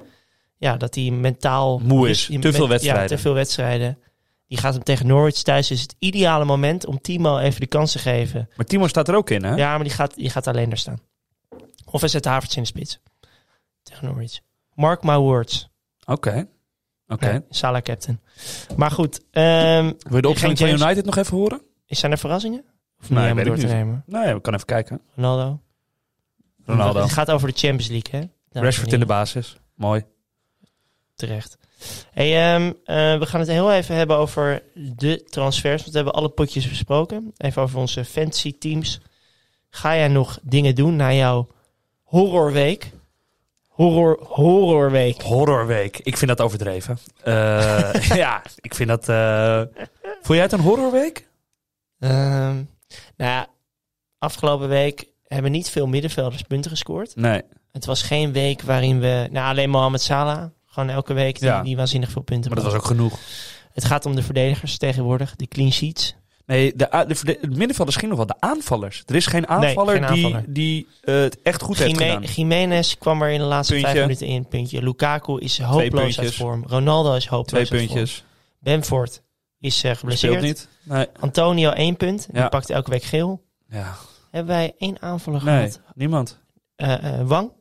[SPEAKER 5] ja, dat hij mentaal...
[SPEAKER 1] Moe is. Te veel wedstrijden.
[SPEAKER 5] Ja, te veel wedstrijden. Die gaat hem tegen Norwich thuis. Is het ideale moment om Timo even de kans te geven.
[SPEAKER 1] Maar Timo staat er ook in, hè?
[SPEAKER 5] Ja, maar die gaat, die gaat alleen daar staan. Of hij zet Havertz in de spits. Tegen Norwich. Mark my words.
[SPEAKER 1] Oké. Oké.
[SPEAKER 5] Nee, Salah captain. Maar goed. ehm,
[SPEAKER 1] Wil je de opstelling van
[SPEAKER 5] James-
[SPEAKER 1] United nog even horen?
[SPEAKER 5] zijn er verrassingen?
[SPEAKER 1] Nee,
[SPEAKER 5] Of niet helemaal
[SPEAKER 1] weet ik
[SPEAKER 5] door te
[SPEAKER 1] niet.
[SPEAKER 5] nemen?
[SPEAKER 1] Nee, we kunnen even kijken.
[SPEAKER 5] Ronaldo.
[SPEAKER 1] Ronaldo.
[SPEAKER 5] Het gaat over de Champions League, hè? Dames en
[SPEAKER 1] Rashford in
[SPEAKER 5] heren.
[SPEAKER 1] de basis. Mooi.
[SPEAKER 5] Terecht. Hey, ehm, eh, we gaan het heel even hebben over de transfers. Want we hebben alle potjes besproken. Even over onze fantasy teams. Ga jij nog dingen doen na jouw horrorweek? Horror, horrorweek.
[SPEAKER 1] Horrorweek. Ik vind dat overdreven. Eh, ja, ik vind dat... eh Vond jij het een horrorweek?
[SPEAKER 5] Ehm, nou ja, afgelopen week hebben niet veel middenvelders punten gescoord.
[SPEAKER 1] Nee.
[SPEAKER 5] Het was geen week waarin we... Nou, alleen Mohamed Salah. Gewoon elke week die,
[SPEAKER 1] Ja.
[SPEAKER 5] die waanzinnig veel punten
[SPEAKER 1] Maar dat was
[SPEAKER 5] maakt.
[SPEAKER 1] ook genoeg.
[SPEAKER 5] Het gaat om de verdedigers tegenwoordig. De clean sheets.
[SPEAKER 1] Nee, de, a- de, verde- het middenvelders ging nog wel. De aanvallers. Er is geen aanvaller,
[SPEAKER 5] geen
[SPEAKER 1] die,
[SPEAKER 5] aanvaller.
[SPEAKER 1] die eh, het echt goed heeft
[SPEAKER 5] Jime-
[SPEAKER 1] gedaan.
[SPEAKER 5] Jiménez kwam er in de laatste
[SPEAKER 1] Puntje.
[SPEAKER 5] vijf minuten in. Puntje. Lukaku is hopeloos uit
[SPEAKER 1] puntjes.
[SPEAKER 5] vorm. Ronaldo is
[SPEAKER 1] Twee
[SPEAKER 5] hopeloos uit vorm.
[SPEAKER 1] puntjes.
[SPEAKER 5] Benford is eh,
[SPEAKER 1] Speelt
[SPEAKER 5] geblesseerd.
[SPEAKER 1] niet. Nee.
[SPEAKER 5] Antonio één punt.
[SPEAKER 1] Ja.
[SPEAKER 5] Die pakt elke week geel.
[SPEAKER 1] Ja.
[SPEAKER 5] Hebben wij één aanvaller
[SPEAKER 1] Nee,
[SPEAKER 5] gehad?
[SPEAKER 1] niemand.
[SPEAKER 5] Eh, eh, Wang?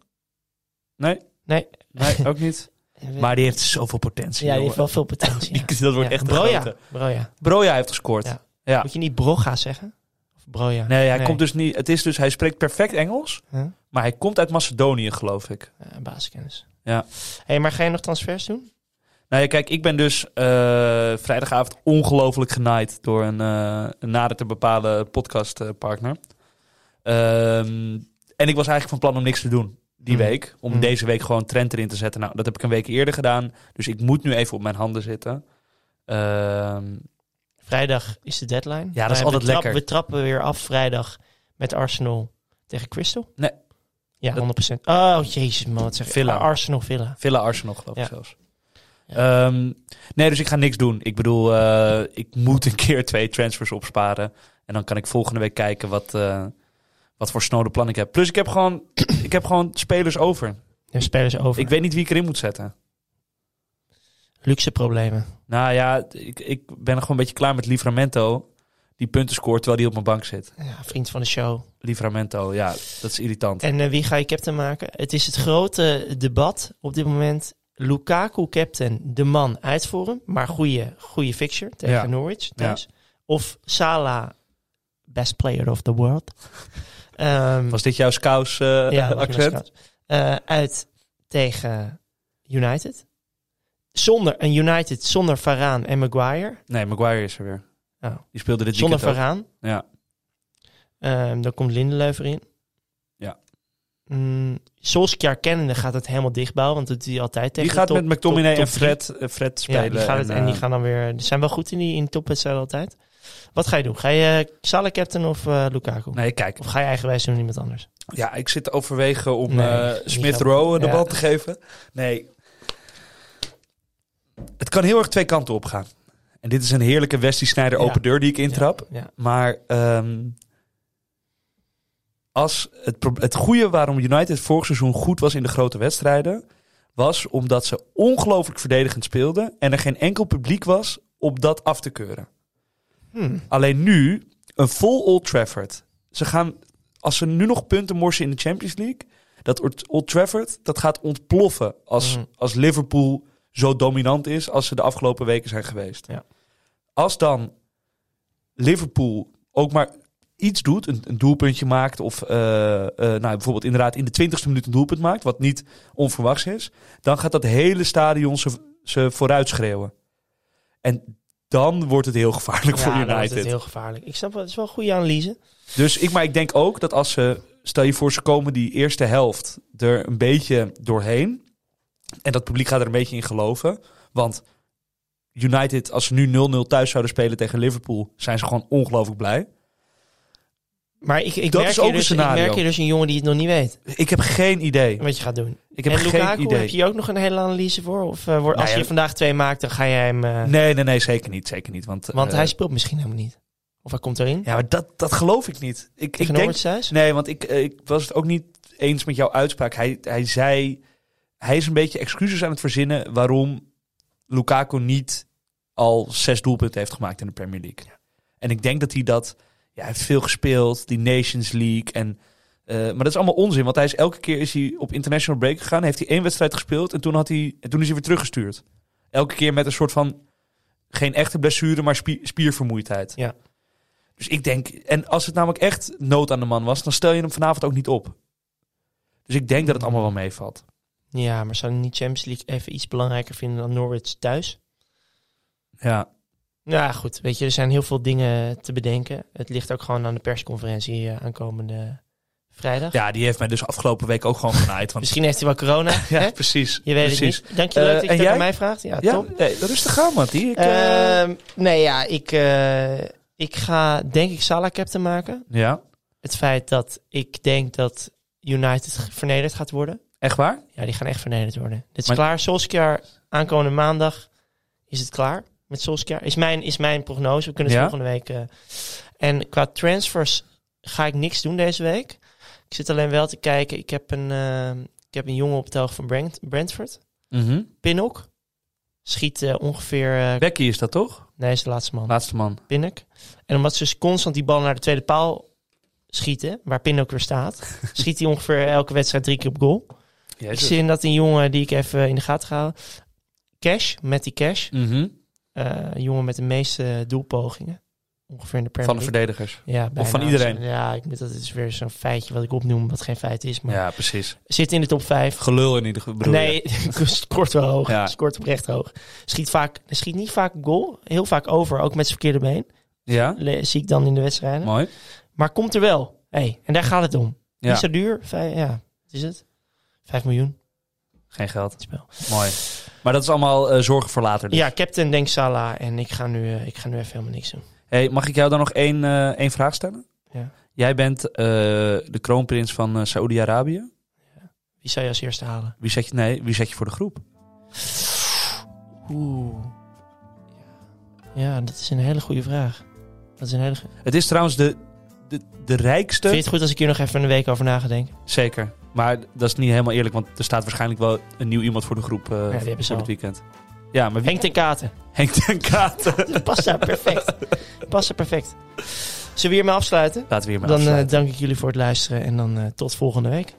[SPEAKER 1] Nee.
[SPEAKER 5] Nee.
[SPEAKER 1] Nee, ook niet. Maar die heeft zoveel potentie.
[SPEAKER 5] ja, die heeft
[SPEAKER 1] jongen.
[SPEAKER 5] wel veel potentie. ja.
[SPEAKER 1] Die- dat wordt
[SPEAKER 5] Ja.
[SPEAKER 1] echt een
[SPEAKER 5] Broja.
[SPEAKER 1] grote.
[SPEAKER 5] Broja.
[SPEAKER 1] Broja heeft gescoord.
[SPEAKER 5] Ja.
[SPEAKER 1] Ja.
[SPEAKER 5] Moet je niet Broga zeggen? Of Broja?
[SPEAKER 1] Nee, hij komt dus niet. Het is dus, hij spreekt perfect Engels,
[SPEAKER 5] Huh?
[SPEAKER 1] maar hij komt uit Macedonië, geloof ik.
[SPEAKER 5] Eh, basiskennis.
[SPEAKER 1] Ja.
[SPEAKER 5] hey, maar ga je nog transfers doen?
[SPEAKER 1] Nou ja, kijk, ik ben dus eh, vrijdagavond ongelooflijk genaaid door een, eh, een nader te bepalen podcastpartner. Ehm, en ik was eigenlijk van plan om niks te doen die
[SPEAKER 5] Mm.
[SPEAKER 1] week. Om
[SPEAKER 5] Mm.
[SPEAKER 1] deze week gewoon trend erin te zetten. Nou, dat heb ik een week eerder gedaan. Dus ik moet nu even op mijn handen zitten. Ehm,
[SPEAKER 5] Vrijdag is de deadline.
[SPEAKER 1] Ja, dat is
[SPEAKER 5] Wij- we
[SPEAKER 1] altijd
[SPEAKER 5] trap-
[SPEAKER 1] lekker.
[SPEAKER 5] We trappen weer af vrijdag met Arsenal tegen Crystal.
[SPEAKER 1] Nee.
[SPEAKER 5] Ja,
[SPEAKER 1] Dat-
[SPEAKER 5] 100%. Oh, jezus man, wat zeg ik?
[SPEAKER 1] Villa.
[SPEAKER 5] Ah, Arsenal Villa.
[SPEAKER 1] Villa Arsenal, geloof ik
[SPEAKER 5] Ja.
[SPEAKER 1] zelfs. Ehm, nee, dus ik ga niks doen. Ik bedoel, eh, ik moet een keer twee transfers opsparen. En dan kan ik volgende week kijken wat, eh, wat voor snode plan ik heb. Plus, ik heb gewoon, ik heb gewoon spelers over.
[SPEAKER 5] De spelers over.
[SPEAKER 1] Ik weet niet wie ik erin moet zetten.
[SPEAKER 5] Luxe problemen.
[SPEAKER 1] Nou ja, ik, ik ben gewoon een beetje klaar met Livramento. Die punten scoort terwijl die op mijn bank zit.
[SPEAKER 5] Ja, vriend van de show.
[SPEAKER 1] Livramento, ja, dat is irritant.
[SPEAKER 5] En eh, wie ga je captain maken? Het is het grote debat op dit moment. Lukaku captain, de man uitvoeren, maar goede, goede fixture tegen
[SPEAKER 1] Ja.
[SPEAKER 5] Norwich thuis. Of Salah, best player of the world. Ehm,
[SPEAKER 1] Was dit jouw scouse eh,
[SPEAKER 5] ja, dat was mijn
[SPEAKER 1] accent?
[SPEAKER 5] scout. Eh, uit tegen United. Zonder een United, zonder Varaan en Maguire.
[SPEAKER 1] Nee, Maguire is er weer.
[SPEAKER 5] Oh.
[SPEAKER 1] Die speelde dit
[SPEAKER 5] Zonder
[SPEAKER 1] weekend ook.
[SPEAKER 5] Varaan.
[SPEAKER 1] Ja.
[SPEAKER 5] Ehm, dan komt Lindelöf erin.
[SPEAKER 1] Ja.
[SPEAKER 5] Mm, Solskjaer kennende gaat het helemaal dichtbouwen, want dat doet hij altijd tegen
[SPEAKER 1] Die gaat
[SPEAKER 5] de top-
[SPEAKER 1] met McTominay
[SPEAKER 5] top- top
[SPEAKER 1] en Fred, eh, Fred
[SPEAKER 5] drie.
[SPEAKER 1] spelen.
[SPEAKER 5] Ja, die gaat het, en,
[SPEAKER 1] eh,
[SPEAKER 5] die gaan dan weer... Die zijn wel goed in die in topwedstrijden altijd. Wat ga je doen? Ga je eh, Salah captain of eh, Lukaku?
[SPEAKER 1] Nee, kijk.
[SPEAKER 5] Of ga je eigenwijs doen met iemand anders?
[SPEAKER 1] Ja, ik zit te overwegen om
[SPEAKER 5] Nee,
[SPEAKER 1] eh,
[SPEAKER 5] niet
[SPEAKER 1] Smith
[SPEAKER 5] helpen.
[SPEAKER 1] Rowe de
[SPEAKER 5] Ja.
[SPEAKER 1] bal te geven. Nee. Het kan heel erg twee kanten op gaan. En dit is een heerlijke Westie Snyder
[SPEAKER 5] Ja.
[SPEAKER 1] open deur die ik intrap.
[SPEAKER 5] Ja.
[SPEAKER 1] Maar ehm, als het, pro- het goede waarom United vorig seizoen goed was in de grote wedstrijden... was omdat ze ongelooflijk verdedigend speelden... en er geen enkel publiek was om dat af te keuren.
[SPEAKER 5] Hmm.
[SPEAKER 1] Alleen nu, een vol Old Trafford. Ze gaan, als ze nu nog punten morsen in de Champions League, dat Old- Old Trafford, dat gaat ontploffen als,
[SPEAKER 5] Mm.
[SPEAKER 1] als Liverpool zo dominant is als ze de afgelopen weken zijn geweest.
[SPEAKER 5] Ja.
[SPEAKER 1] Als dan Liverpool ook maar iets doet, een, een doelpuntje maakt of eh, eh, nou, bijvoorbeeld inderdaad in de twintigste minuut een doelpunt maakt, wat niet onverwachts is, dan gaat dat hele stadion ze, ze vooruit schreeuwen. En dan wordt het heel gevaarlijk
[SPEAKER 5] Ja,
[SPEAKER 1] voor
[SPEAKER 5] dan wordt het
[SPEAKER 1] United.
[SPEAKER 5] heel gevaarlijk. Ik snap wel, het is wel een goede analyse.
[SPEAKER 1] Dus ik, maar ik denk ook dat als ze, stel je voor, ze komen die eerste helft er een beetje doorheen. En dat publiek gaat er een beetje in geloven. Want United, als ze nu 0-0 thuis zouden spelen tegen Liverpool, zijn ze gewoon ongelooflijk blij.
[SPEAKER 5] Maar ik, ik,
[SPEAKER 1] Dat
[SPEAKER 5] merk
[SPEAKER 1] is ook
[SPEAKER 5] hier
[SPEAKER 1] een
[SPEAKER 5] dus, ik
[SPEAKER 1] scenario.
[SPEAKER 5] merk hier dus een jongen die het nog niet weet.
[SPEAKER 1] Ik heb geen idee.
[SPEAKER 5] Wat je gaat doen.
[SPEAKER 1] Ik heb
[SPEAKER 5] en
[SPEAKER 1] geen
[SPEAKER 5] Lukaku,
[SPEAKER 1] idee.
[SPEAKER 5] heb je ook nog een hele analyse voor? Of eh, wordt, als
[SPEAKER 1] Nee,
[SPEAKER 5] je vandaag twee maakt, dan ga jij hem... eh,
[SPEAKER 1] Nee, nee, nee, zeker niet. Zeker niet want
[SPEAKER 5] want
[SPEAKER 1] eh,
[SPEAKER 5] hij speelt misschien helemaal niet. Of hij komt erin.
[SPEAKER 1] Ja, maar dat, dat geloof ik niet. Ik, ik
[SPEAKER 5] tegen
[SPEAKER 1] denk
[SPEAKER 5] Norwich thuis.
[SPEAKER 1] Nee, want ik, eh, ik was het ook niet eens met jouw uitspraak. Hij, hij zei, hij is een beetje excuses aan het verzinnen waarom Lukaku niet al zes doelpunten heeft gemaakt in de Premier League. En ik denk dat hij dat... Ja, hij heeft veel gespeeld, die Nations League. En, eh, maar dat is allemaal onzin, want hij is elke keer is hij op international break gegaan. Heeft hij één wedstrijd gespeeld en toen, had hij, en toen is hij weer teruggestuurd. Elke keer met een soort van... Geen echte blessure, maar spie- spiervermoeidheid.
[SPEAKER 5] Ja.
[SPEAKER 1] Dus ik denk... En als het namelijk echt nood aan de man was, dan stel je hem vanavond ook niet op. Dus ik denk dat
[SPEAKER 5] Hmm.
[SPEAKER 1] het allemaal wel meevalt.
[SPEAKER 5] Ja, maar zou niet Champions League even iets belangrijker vinden dan Norwich thuis?
[SPEAKER 1] Ja.
[SPEAKER 5] Nou goed, weet je, er zijn heel veel dingen te bedenken. Het ligt ook gewoon aan de persconferentie eh, aankomende vrijdag.
[SPEAKER 1] Ja, die heeft mij dus afgelopen week ook gewoon genaaid. Want,
[SPEAKER 5] Misschien heeft hij wel corona.
[SPEAKER 1] ja,
[SPEAKER 5] hè?
[SPEAKER 1] precies.
[SPEAKER 5] Je weet
[SPEAKER 1] precies.
[SPEAKER 5] het niet. Dankjewel
[SPEAKER 1] Eh,
[SPEAKER 5] dat je
[SPEAKER 1] en
[SPEAKER 5] dat
[SPEAKER 1] jij?
[SPEAKER 5] aan mij vraagt. Ja,
[SPEAKER 1] Ja,
[SPEAKER 5] top.
[SPEAKER 1] nee, rustig aan, man. Ik, eh,
[SPEAKER 5] Ehm, nee, ja, ik, eh, ik ga denk ik Salah captain maken.
[SPEAKER 1] ja,
[SPEAKER 5] Het feit dat ik denk dat United ge- vernederd gaat worden.
[SPEAKER 1] echt waar?
[SPEAKER 5] Ja, die gaan echt vernederd worden. Dit is
[SPEAKER 1] Maar-
[SPEAKER 5] klaar. Solskjaer, aankomende maandag is het klaar met Solskjaer. Is mijn, is mijn prognose. We kunnen het
[SPEAKER 1] Ja.
[SPEAKER 5] volgende week... eh, en qua transfers ga ik niks doen deze week. Ik zit alleen wel te kijken. Ik heb een, eh, ik heb een jongen op het oog van Brent, Brentford. Pinnock. Schiet eh, ongeveer... eh,
[SPEAKER 1] Mhm. Becky is dat toch?
[SPEAKER 5] nee, is de laatste man.
[SPEAKER 1] Laatste man.
[SPEAKER 5] Pinnock. En omdat ze dus constant die bal naar de tweede paal schieten, waar Pinnock weer staat, schiet hij ongeveer elke wedstrijd drie keer op goal. Ik zie in dat een jongen die ik even in de gaten ga houden. Cash, met die cash.
[SPEAKER 1] Mhm.
[SPEAKER 5] Eh, een jongen met de meeste doelpogingen. Ongeveer in de Premier
[SPEAKER 1] Van de
[SPEAKER 5] League.
[SPEAKER 1] verdedigers.
[SPEAKER 5] ja, bijna.
[SPEAKER 1] van iedereen.
[SPEAKER 5] Ja, ik, dat is weer zo'n feitje wat ik opnoem, wat geen feit is. Maar
[SPEAKER 1] Ja, precies.
[SPEAKER 5] zit in de top 5.
[SPEAKER 1] Gelul in ieder geval. bedoel je.
[SPEAKER 5] Nee, scoort wel hoog.
[SPEAKER 1] Ja.
[SPEAKER 5] Scoort oprecht hoog. Schiet, vaak, schiet niet vaak op goal. Heel vaak over, ook met zijn verkeerde been.
[SPEAKER 1] Ja,
[SPEAKER 5] Le- zie ik dan in de wedstrijden.
[SPEAKER 1] mooi.
[SPEAKER 5] Maar komt er wel. Hey, en daar gaat het om.
[SPEAKER 1] Ja.
[SPEAKER 5] Niet zo duur. Vijf, ja, wat is het? Vijf miljoen.
[SPEAKER 1] Geen geld.
[SPEAKER 5] Het spel.
[SPEAKER 1] Mooi. Maar dat is allemaal eh, zorgen voor later. dus.
[SPEAKER 5] Ja, captain denk Salah. En ik ga, nu, eh, ik ga nu even helemaal niks doen.
[SPEAKER 1] Hey, mag ik jou dan nog één, eh, één vraag stellen?
[SPEAKER 5] Ja.
[SPEAKER 1] Jij bent eh, de kroonprins van eh, Saoedi-Arabië.
[SPEAKER 5] Wie zou je als eerste halen?
[SPEAKER 1] Wie, zet je- nee, wie zet je voor de groep?
[SPEAKER 5] Oeh. Ja, dat is een hele goede vraag. Dat is een hele... go-
[SPEAKER 1] Het is trouwens de, de, de rijkste...
[SPEAKER 5] Vind je het goed als ik hier nog even een week over na ga denken?
[SPEAKER 1] Zeker. Maar dat is niet helemaal eerlijk, want er staat waarschijnlijk wel een nieuw iemand voor de groep eh,
[SPEAKER 5] hebben
[SPEAKER 1] voor
[SPEAKER 5] ze al.
[SPEAKER 1] het weekend. Ja, maar wie?
[SPEAKER 5] Henk ten Katen.
[SPEAKER 1] Henk ten Katen.
[SPEAKER 5] Dat past daar perfect. past daar perfect. Zullen we hiermee afsluiten?
[SPEAKER 1] Laten we hiermee
[SPEAKER 5] Dan eh,
[SPEAKER 1] afsluiten.
[SPEAKER 5] dank ik jullie voor het luisteren. En dan eh, tot volgende week.